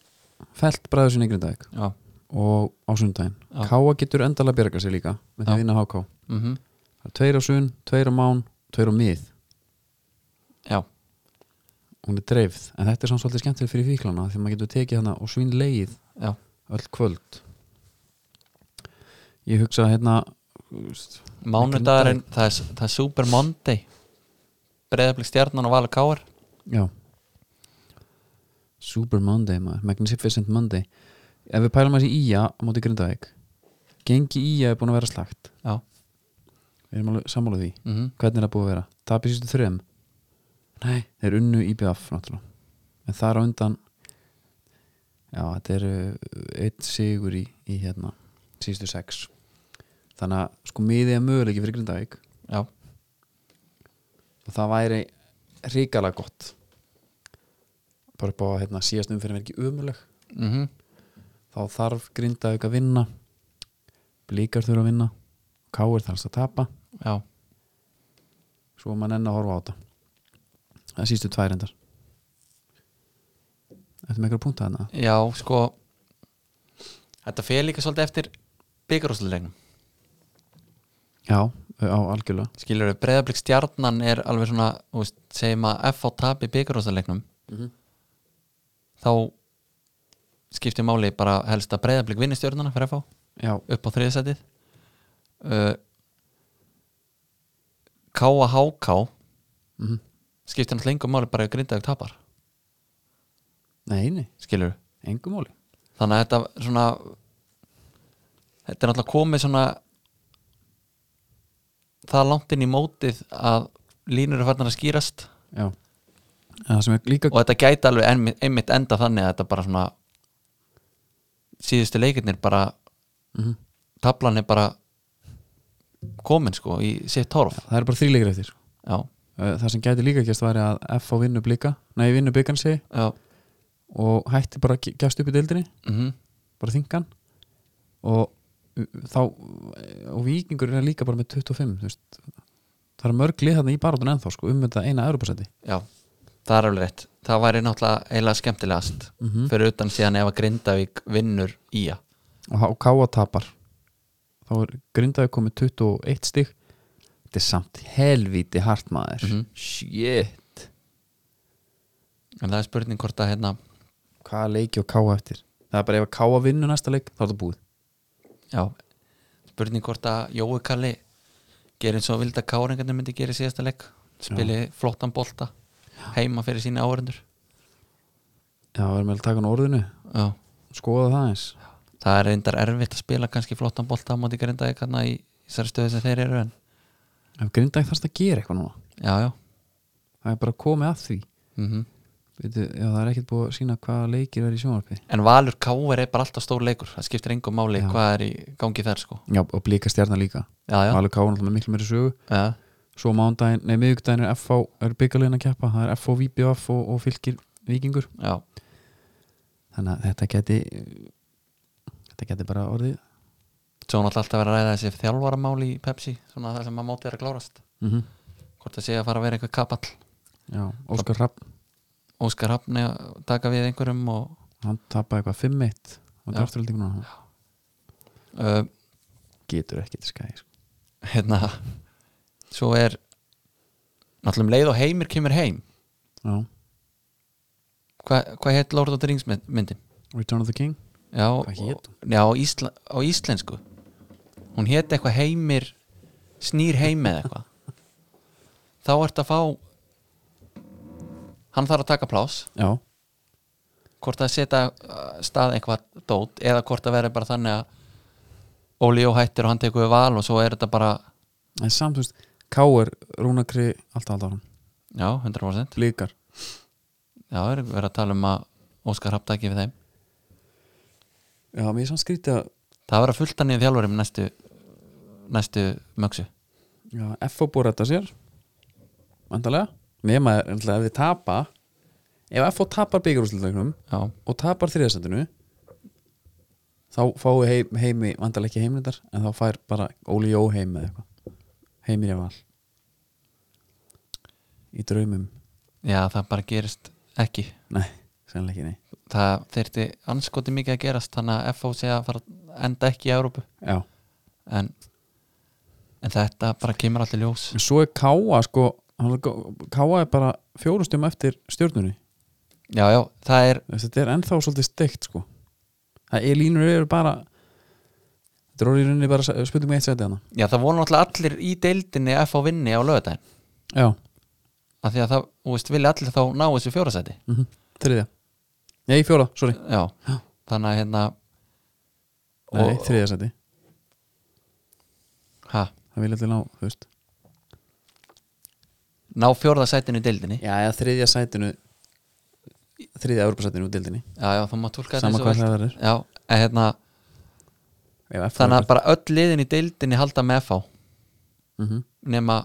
[SPEAKER 1] felt bræður sinni í Grindavík
[SPEAKER 2] já,
[SPEAKER 1] og á sundaginn
[SPEAKER 2] Já.
[SPEAKER 1] Káa getur endalega að bjarga sig líka með því
[SPEAKER 2] Já.
[SPEAKER 1] að vinna HK
[SPEAKER 2] mhm
[SPEAKER 1] Það er tveir á sunn, tveir á mán, tveir á mið
[SPEAKER 2] Já,
[SPEAKER 1] Hún er dreifð, en þetta er samt svolítið skemmtileg fyrir fíklana því maður getur tekið hana og svín leið
[SPEAKER 2] já,
[SPEAKER 1] öll kvöld ég hugsa að hérna
[SPEAKER 2] mánudagurinn það er, það er Super Monday Breiðablik stjarnan og Valur Káar
[SPEAKER 1] já Super Monday maður, Magnificent Monday ef við pælum að þessi íja á móti Grindavík gengi íja er búin að vera slagt
[SPEAKER 2] Já,
[SPEAKER 1] við erum alveg sammála því
[SPEAKER 2] mm
[SPEAKER 1] hvernig er það búið að vera? Tapir sístu þrem? Nei, þeir unnu IBF náttúrulega en þar á undan já, þetta er eitt sigur í, í hérna sístu sex þannig að sko miðið er möguleiki fyrir Grindavík
[SPEAKER 2] Já,
[SPEAKER 1] og það væri ríkalega gott bara upp á að hérna, síðast umferðin verið ekki umuleg
[SPEAKER 2] mm
[SPEAKER 1] þá þarf Grindavík að vinna blíkar þurfa að vinna káir þarfst að tapa
[SPEAKER 2] já
[SPEAKER 1] svo mann enn að horfa á þetta það er sístu tvær endar Þetta með einhverja punta þarna
[SPEAKER 2] Já, sko Þetta fer líka svolítið eftir byggarúsleiknum
[SPEAKER 1] Já, á algjörlega
[SPEAKER 2] Skilur við, breyðablik stjarnan er alveg svona, þú veist, segjum að F á tap í byggarúsleiknum þá skiptir máli bara helst að breyðablik vinni stjörnana fyrir F á
[SPEAKER 1] Já,
[SPEAKER 2] upp á þriðsætið uh, Káa háká
[SPEAKER 1] mm
[SPEAKER 2] skiptir náttúrulega engum máli bara að grindaðu tapar
[SPEAKER 1] nei, nei,
[SPEAKER 2] skilur
[SPEAKER 1] engum óli
[SPEAKER 2] þannig að þetta svona þetta er náttúrulega komið svona það langt inn í mótið að línur er farnar að skýrast
[SPEAKER 1] Já, En það sem er líka
[SPEAKER 2] og þetta gæti alveg enmi- einmitt enda þannig að þetta bara svona síðustu leikirnir bara
[SPEAKER 1] mm
[SPEAKER 2] tablan er bara komin sko í sitt torf
[SPEAKER 1] Það eru bara þrýleikir eftir sko.
[SPEAKER 2] já,
[SPEAKER 1] Eh, Það sem gæti líka gæst væri að F á vinnu blika Nei, vinnu blikan sig
[SPEAKER 2] já,
[SPEAKER 1] og hætti bara að gefst upp í deildinni
[SPEAKER 2] mm
[SPEAKER 1] bara þingan og uh, þá eh, og vikingur er líka bara með 25 þú veist. það er mörg lið þarna í baróttun ennþá sko, um þetta eina Europasæti
[SPEAKER 2] já það er alveg rétt, það væri náttúrulega eiginlega skemmtilegast fyrir utan síðan ef að Grindavík vinnur í að
[SPEAKER 1] og þá káa tapar þá er grindaði komið 21 stig þetta er samt helvíti hart maður
[SPEAKER 2] Mhm.
[SPEAKER 1] shit
[SPEAKER 2] en það er spurning hvort að hérna
[SPEAKER 1] hvaða leiki og káa eftir það er bara ef að káa vinnu næsta leik þá er þetta búið
[SPEAKER 2] Já, spurning hvort að Jói Kalli gerir eins og vilda káringarnir myndi gera í síðasta leik spili flottan bolta heima fyrir sína áhörendur
[SPEAKER 1] já, við erum vel að taka hann á orðinu
[SPEAKER 2] Já,
[SPEAKER 1] skoða það eins
[SPEAKER 2] það er reyndar erfitt að spila kannski flottan bolta á móti grindaði kannar í þessari stöðu sem þeir eru en
[SPEAKER 1] ef grindaði þarst að gera eitthvað núna
[SPEAKER 2] já, já,
[SPEAKER 1] það er bara komið að því
[SPEAKER 2] mm
[SPEAKER 1] Veitu, já, það er ekkert búið að sína hvaða leikir verið í sjónvarpi
[SPEAKER 2] en Valur Káver er bara alltaf stór leikur það skiptir engum máli
[SPEAKER 1] Já.
[SPEAKER 2] hvað er í gangi þær sko
[SPEAKER 1] Já, og blika stjarnar líka
[SPEAKER 2] Já, já,
[SPEAKER 1] Valur Káin alltaf með miklu meiri sögu
[SPEAKER 2] já,
[SPEAKER 1] Svo mándaginn, nei miðvikudaginn er FH er byggalegin að keppa, það er FH, VBF og, og fylgir vikingur
[SPEAKER 2] já,
[SPEAKER 1] Þannig að þetta geti þetta geti bara orðið
[SPEAKER 2] svo náttúrulega alltaf verið að ræða þessi þjálfaramál í Pepsi svona það sem að móti er að klárast
[SPEAKER 1] mm
[SPEAKER 2] hvort það sé að fara að vera einhver kapall
[SPEAKER 1] Já, Óskar Rapp,
[SPEAKER 2] Óskar Hafni að taka við einhverjum og
[SPEAKER 1] hann tapaði eitthvað 5-1 og
[SPEAKER 2] Já.
[SPEAKER 1] drafturöldinguna hann
[SPEAKER 2] uh,
[SPEAKER 1] getur ekki til skæði sko.
[SPEAKER 2] hérna svo er náttúrulega um leið og heimir kemur heim
[SPEAKER 1] Já,
[SPEAKER 2] Hva, hvað hétt Lord of the Rings mynd- myndin?
[SPEAKER 1] Return of the King
[SPEAKER 2] Já,
[SPEAKER 1] Hvað hét
[SPEAKER 2] já á, ísla, á íslensku hún hétt eitthvað heimir snýr heim eða eitthvað þá ert að fá hann þarf að taka plás
[SPEAKER 1] Já,
[SPEAKER 2] hvort að setja uh, stað eitthvað dót eða hvort að vera bara þannig að Óli Jó hættir og hann tekur við val og svo er þetta bara
[SPEAKER 1] en samt þú veist Káir, Rúnakri, alltaf alltaf hann
[SPEAKER 2] já, 100%
[SPEAKER 1] Blikar,
[SPEAKER 2] já, er verið að tala um að Óskar hafði ekki við þeim
[SPEAKER 1] já, mér er samt skrítið að
[SPEAKER 2] Það verður fullt að niður þjálfurum næstu næstu mögsu
[SPEAKER 1] Já, FH búið að redda sér Vandalega Nema er ennlega ef þið tapa Ef FH tapar byggarúsleiknum
[SPEAKER 2] Já,
[SPEAKER 1] og tapar þriðasendinu þá fáu heim, heimi vandalega ekki heimlindar en þá fær bara Óli Jó heim með eitthvað Heimir ég val Í draumum
[SPEAKER 2] já það bara gerist ekki
[SPEAKER 1] Nei, sennilega ekki nei
[SPEAKER 2] Það þyrfti anskoti mikið að gerast þannig að FO sé að fara að enda ekki í Európu
[SPEAKER 1] Já,
[SPEAKER 2] en, en þetta bara kemur allir ljós
[SPEAKER 1] en svo er Káa sko hann er gó- Káa er bara fjórustum eftir stjórnunni
[SPEAKER 2] Já, já, það er
[SPEAKER 1] þetta er ennþá svolítið steikt sko það er línur eru bara þetta er orðið í rauninni bara s- spurning með eitt setið hana
[SPEAKER 2] Já, það voru náttúrulega allir í deildinni ef FO vinni á lögudaginn
[SPEAKER 1] já,
[SPEAKER 2] af því að það, þú veist, vilja allir þá ná þessu fjórasæti
[SPEAKER 1] mm þriðja nei, fjóra, sorry,
[SPEAKER 2] Já, þannig að hérna
[SPEAKER 1] nei,
[SPEAKER 2] og-
[SPEAKER 1] þriðja seti
[SPEAKER 2] Ha,
[SPEAKER 1] það vilja til á, þú veist
[SPEAKER 2] ná fjórða sætinu í deildinni
[SPEAKER 1] já, já, þriðja sætinu þriðja Evropasætinu úr dildinni
[SPEAKER 2] já, já, þú maður tólka
[SPEAKER 1] sama hvað það verður
[SPEAKER 2] já, en hérna,
[SPEAKER 1] Ef F
[SPEAKER 2] þannig
[SPEAKER 1] verður-
[SPEAKER 2] að bara öll liðin í deildinni halda með FH
[SPEAKER 1] Mhm.
[SPEAKER 2] nema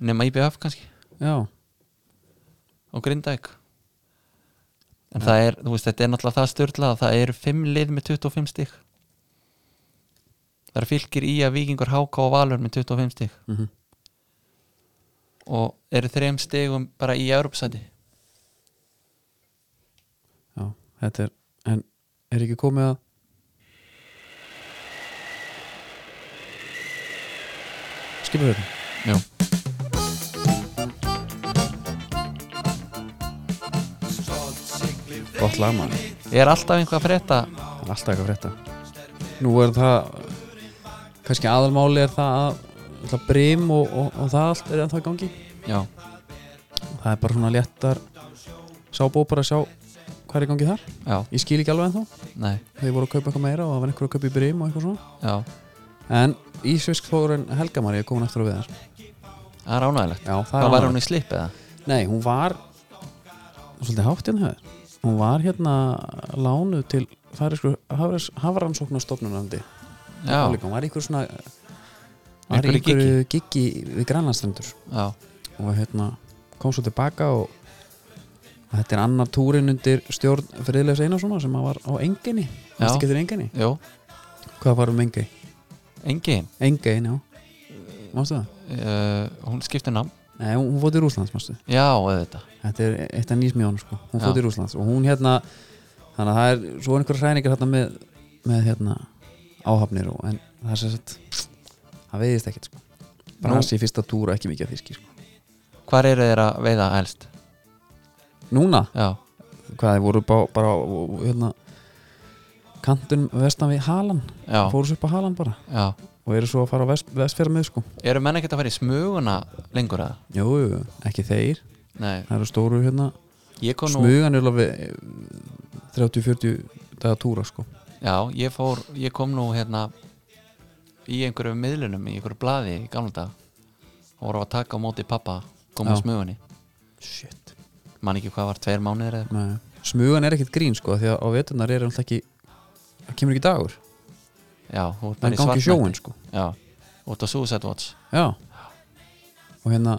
[SPEAKER 2] nema IBF kannski
[SPEAKER 1] já,
[SPEAKER 2] og Grindavík en það er, þú veist, þetta er náttúrulega það styrla að það eru fimm lið með 25 stík það eru fylgir í að Víkingur Háka og Valur með 25 stík
[SPEAKER 1] mhm
[SPEAKER 2] og eru þrejum stigum bara í Europasæti
[SPEAKER 1] Já, þetta er En er ekki komið að Skipum við þetta
[SPEAKER 2] Já
[SPEAKER 1] Gott lag maður
[SPEAKER 2] Er alltaf einhvað að frétta
[SPEAKER 1] Það er alltaf eitthvað frétta Nú er það kannski aðalmáli er það að það brim og, og, og það allt er ennþá í gangi
[SPEAKER 2] Já,
[SPEAKER 1] Það er bara svona léttar sábó bara að sjá hvað er í gangi þar
[SPEAKER 2] já,
[SPEAKER 1] Ég skil ekki alveg ennþá
[SPEAKER 2] nei,
[SPEAKER 1] Þeir voru að kaupa eitthvað meira og það var einhver að kaupa í brim og eitthvað svona
[SPEAKER 2] já
[SPEAKER 1] En Ísviskfórun Helgamari er komin eftir að við þar
[SPEAKER 2] Það er ánægilegt
[SPEAKER 1] Já, það
[SPEAKER 2] Hvað
[SPEAKER 1] er
[SPEAKER 2] var
[SPEAKER 1] ánægjulegt.
[SPEAKER 2] hún í slip eða?
[SPEAKER 1] Nei, hún var svolítið hátt hérna hefur hún var hérna lánuð til færisku hafrannsóknastofnunandi
[SPEAKER 2] Já,
[SPEAKER 1] hún var í einhver svona var í
[SPEAKER 2] Einhverju
[SPEAKER 1] einhverju giggi við grannastrendur
[SPEAKER 2] já,
[SPEAKER 1] og hérna kom svo tilbaka og og þetta er annar túrin undir stjórn friðlegs Einarssona sem að var á enginni
[SPEAKER 2] Já.
[SPEAKER 1] ekki eftir enginni
[SPEAKER 2] jú,
[SPEAKER 1] hvað var um engi?
[SPEAKER 2] engin
[SPEAKER 1] engin, já mástu það?
[SPEAKER 2] uh,
[SPEAKER 1] Eh,
[SPEAKER 2] Hún skipti nám
[SPEAKER 1] Nei, hún, hún fótt í Rúslands, mástu
[SPEAKER 2] Já, auðvitað
[SPEAKER 1] Þetta er eitt af nýsmjónu sko Hún
[SPEAKER 2] Já.
[SPEAKER 1] fótt í Rúslands og hún hérna Þannig að það er svo er einhverja hræningar hérna með, með hérna áhafnir og, En það er sér sett Það veiðist ekkert sko Bara hans í fyrsta túr og ekki mikið að fiski sko
[SPEAKER 2] Hvar eru þeir að veiða helst?
[SPEAKER 1] Núna,
[SPEAKER 2] Já,
[SPEAKER 1] hvað þeir voru bara, bara á- á- hérna Kantunum vestan við Halan
[SPEAKER 2] já,
[SPEAKER 1] Fóru svo upp á Halan bara
[SPEAKER 2] já
[SPEAKER 1] Og eru svo að fara á vest, vestfjara með sko
[SPEAKER 2] Eru menn ekkert að fara í smuguna lengur eða?
[SPEAKER 1] Jú, jú, jú, ekki þeir
[SPEAKER 2] Nei,
[SPEAKER 1] Það eru stóru hérna
[SPEAKER 2] ég kom Sko, nú
[SPEAKER 1] Smugan er alveg 30-40 daga túra sko
[SPEAKER 2] Já, ég fór, ég kom nú hérna í einhverju miðlunum í einhverju blaði í gamla dag og voru að taka á móti pappa kom á
[SPEAKER 1] Já.
[SPEAKER 2] smugunni,
[SPEAKER 1] Shit
[SPEAKER 2] man ekki hvað var, tveir mánuðir eða eitthvað.
[SPEAKER 1] Nei. Smugan er ekkert grín sko því að á veturnar er alltaf ekki það kemur ekki dagur,
[SPEAKER 2] Já, þú ert
[SPEAKER 1] það
[SPEAKER 2] bara
[SPEAKER 1] er
[SPEAKER 2] í
[SPEAKER 1] gangi
[SPEAKER 2] svartnætti
[SPEAKER 1] sjóin sko
[SPEAKER 2] Já, þú ert á Suicide Watch
[SPEAKER 1] já og hérna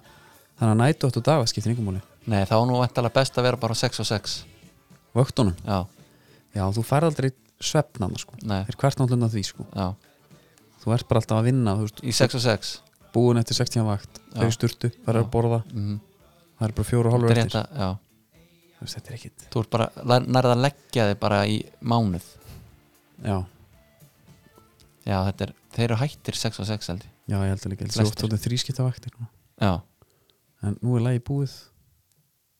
[SPEAKER 1] þannig að nætu áttu daga skiptir yngum múli
[SPEAKER 2] Nei, þá er nú vantalega best að vera bara 6 og 6
[SPEAKER 1] vöktunum,
[SPEAKER 2] Já,
[SPEAKER 1] já þú fær aldrei svefnan sko,
[SPEAKER 2] nei,
[SPEAKER 1] er hvert náttúrulega því sko
[SPEAKER 2] já,
[SPEAKER 1] þú ert bara alltaf að vinna, þú veist,
[SPEAKER 2] í 6 og 6
[SPEAKER 1] búin eftir 16 vakt
[SPEAKER 2] Já.
[SPEAKER 1] þau sturtu, það er að borða
[SPEAKER 2] mm.
[SPEAKER 1] það er bara fjóru og hálfur eftir
[SPEAKER 2] Rétta, já,
[SPEAKER 1] Þú veist, þetta er ekkit,
[SPEAKER 2] þú ert bara lær- nærð að leggja þig bara í mánuð
[SPEAKER 1] já,
[SPEAKER 2] Já, þetta er, þeir eru hættir 6 og 6 held ég
[SPEAKER 1] já ég heldur líka þetta er
[SPEAKER 2] Flestir.
[SPEAKER 1] oft orðið þrískipta vaktir núna.
[SPEAKER 2] Já,
[SPEAKER 1] en nú er lagi búið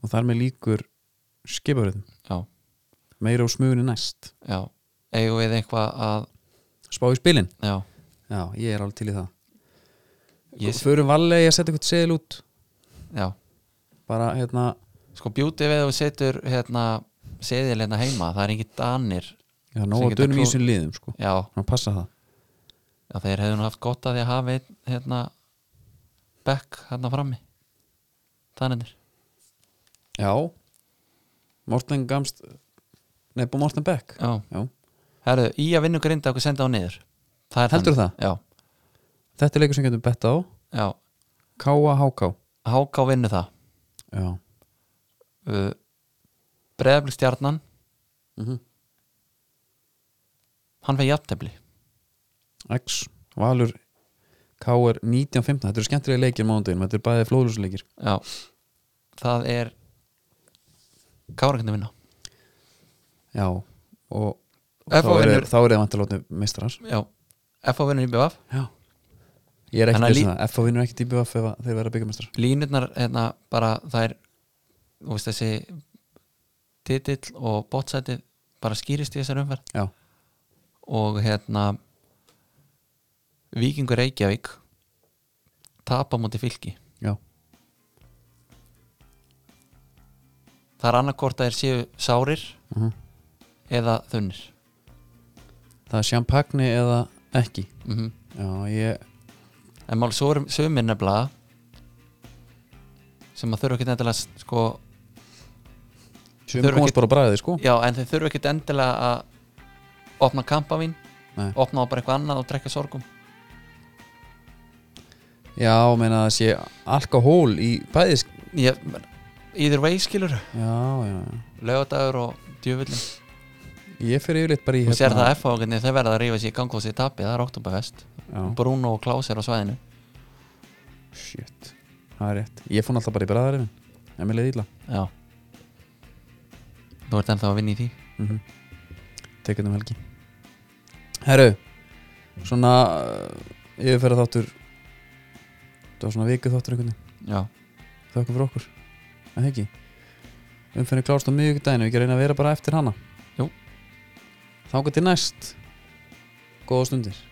[SPEAKER 1] og þar með líkur skiparöðum
[SPEAKER 2] já,
[SPEAKER 1] meira á smugunni næst,
[SPEAKER 2] já eigum við eitthvað að,
[SPEAKER 1] spá í spilin
[SPEAKER 2] já
[SPEAKER 1] Já, ég er alveg til í það
[SPEAKER 2] Ég-
[SPEAKER 1] Förum vallega að setja eitthvað seðil út
[SPEAKER 2] Já,
[SPEAKER 1] Bara hérna
[SPEAKER 2] sko bjúti við að þú setur hérna, seðil hérna heima það er engin danir
[SPEAKER 1] Já, nóg
[SPEAKER 2] Sem
[SPEAKER 1] að
[SPEAKER 2] geta
[SPEAKER 1] dönum í
[SPEAKER 2] kló-
[SPEAKER 1] þessum liðum sko
[SPEAKER 2] já,
[SPEAKER 1] Þannig að passa það
[SPEAKER 2] já, þeir hefðu nú haft gott að því að hafa einn, hérna, bekk hérna frammi danir,
[SPEAKER 1] Já Morten Gamst Nei, búið Morten Beck
[SPEAKER 2] já,
[SPEAKER 1] Já.
[SPEAKER 2] herðu, í að vinnu grinda okkur senda á niður það er
[SPEAKER 1] Heldur
[SPEAKER 2] þannig.
[SPEAKER 1] Þetta er leikur sem getum betta á
[SPEAKER 2] já, já,
[SPEAKER 1] Káa Háká
[SPEAKER 2] háká vinnu það
[SPEAKER 1] Já
[SPEAKER 2] uh, breðabli stjarnan
[SPEAKER 1] Mhm.
[SPEAKER 2] hann fæði jafntefli
[SPEAKER 1] X Valur Káar 19.15 Þetta eru skemmtilega leikir mánudegin Þetta eru bæði flóðlúsleikir
[SPEAKER 2] já, það er káringandi vinna
[SPEAKER 1] Já Og og
[SPEAKER 2] Ef
[SPEAKER 1] þá
[SPEAKER 2] að
[SPEAKER 1] eru-
[SPEAKER 2] vinnur-
[SPEAKER 1] þá eru það vantalótni mistrar
[SPEAKER 2] já, F.A. vinnur í BF
[SPEAKER 1] Já Ég er ekki um
[SPEAKER 2] Þannig að
[SPEAKER 1] þess
[SPEAKER 2] lí-
[SPEAKER 1] að F.A. vinnur ekki DBF ef að þeir verða byggamestrar
[SPEAKER 2] línurnar hérna bara það er þú veist þessi titill og botsæti bara skýrist í þessar umferð
[SPEAKER 1] Já
[SPEAKER 2] og hérna Víkingur Reykjavík tapa á móti fylki
[SPEAKER 1] Já
[SPEAKER 2] það er annarkort að þeir séu sárir
[SPEAKER 1] Mhm.
[SPEAKER 2] eða þunnir
[SPEAKER 1] Það er champagne eða ekki
[SPEAKER 2] mm
[SPEAKER 1] já, ég,
[SPEAKER 2] en mál svo er sömur nefnilega sem að þurfa ekki endilega sko,
[SPEAKER 1] sumir
[SPEAKER 2] Þurfa
[SPEAKER 1] komast
[SPEAKER 2] ekki-
[SPEAKER 1] bara að bræði sko
[SPEAKER 2] já en þeir þurfa ekki endilega að opna kampavín
[SPEAKER 1] Nei.
[SPEAKER 2] opna á bara eitthvað annað og drekka sorgum
[SPEAKER 1] já, meina að sé alkohól í sko. bæðis
[SPEAKER 2] ég, either way skilur
[SPEAKER 1] já, já, já
[SPEAKER 2] lögadagur og djöfullin
[SPEAKER 1] ég fer yfirleitt bara í hérna-
[SPEAKER 2] og sér það F.A. hvernig þau verða að rífa sér í gang og sér tapi, það er oktoberfest
[SPEAKER 1] já,
[SPEAKER 2] Bruno og Klaus er á svæðinu
[SPEAKER 1] shit, það er rétt ég fór alltaf bara í bræðarinn en mér leiði illa
[SPEAKER 2] já þú ert ennþá að vinna í því
[SPEAKER 1] mm -hmm. tekið um helgi herru svona uh, yfirferða þáttur það var svona vikuð þáttur einhvern veginn
[SPEAKER 2] já,
[SPEAKER 1] þakka fyrir okkur en ekki umferðin klárast á miðvikudaginu við ekki reyna að vera bara eftir hana
[SPEAKER 2] Jú.
[SPEAKER 1] þá til næst góða stundir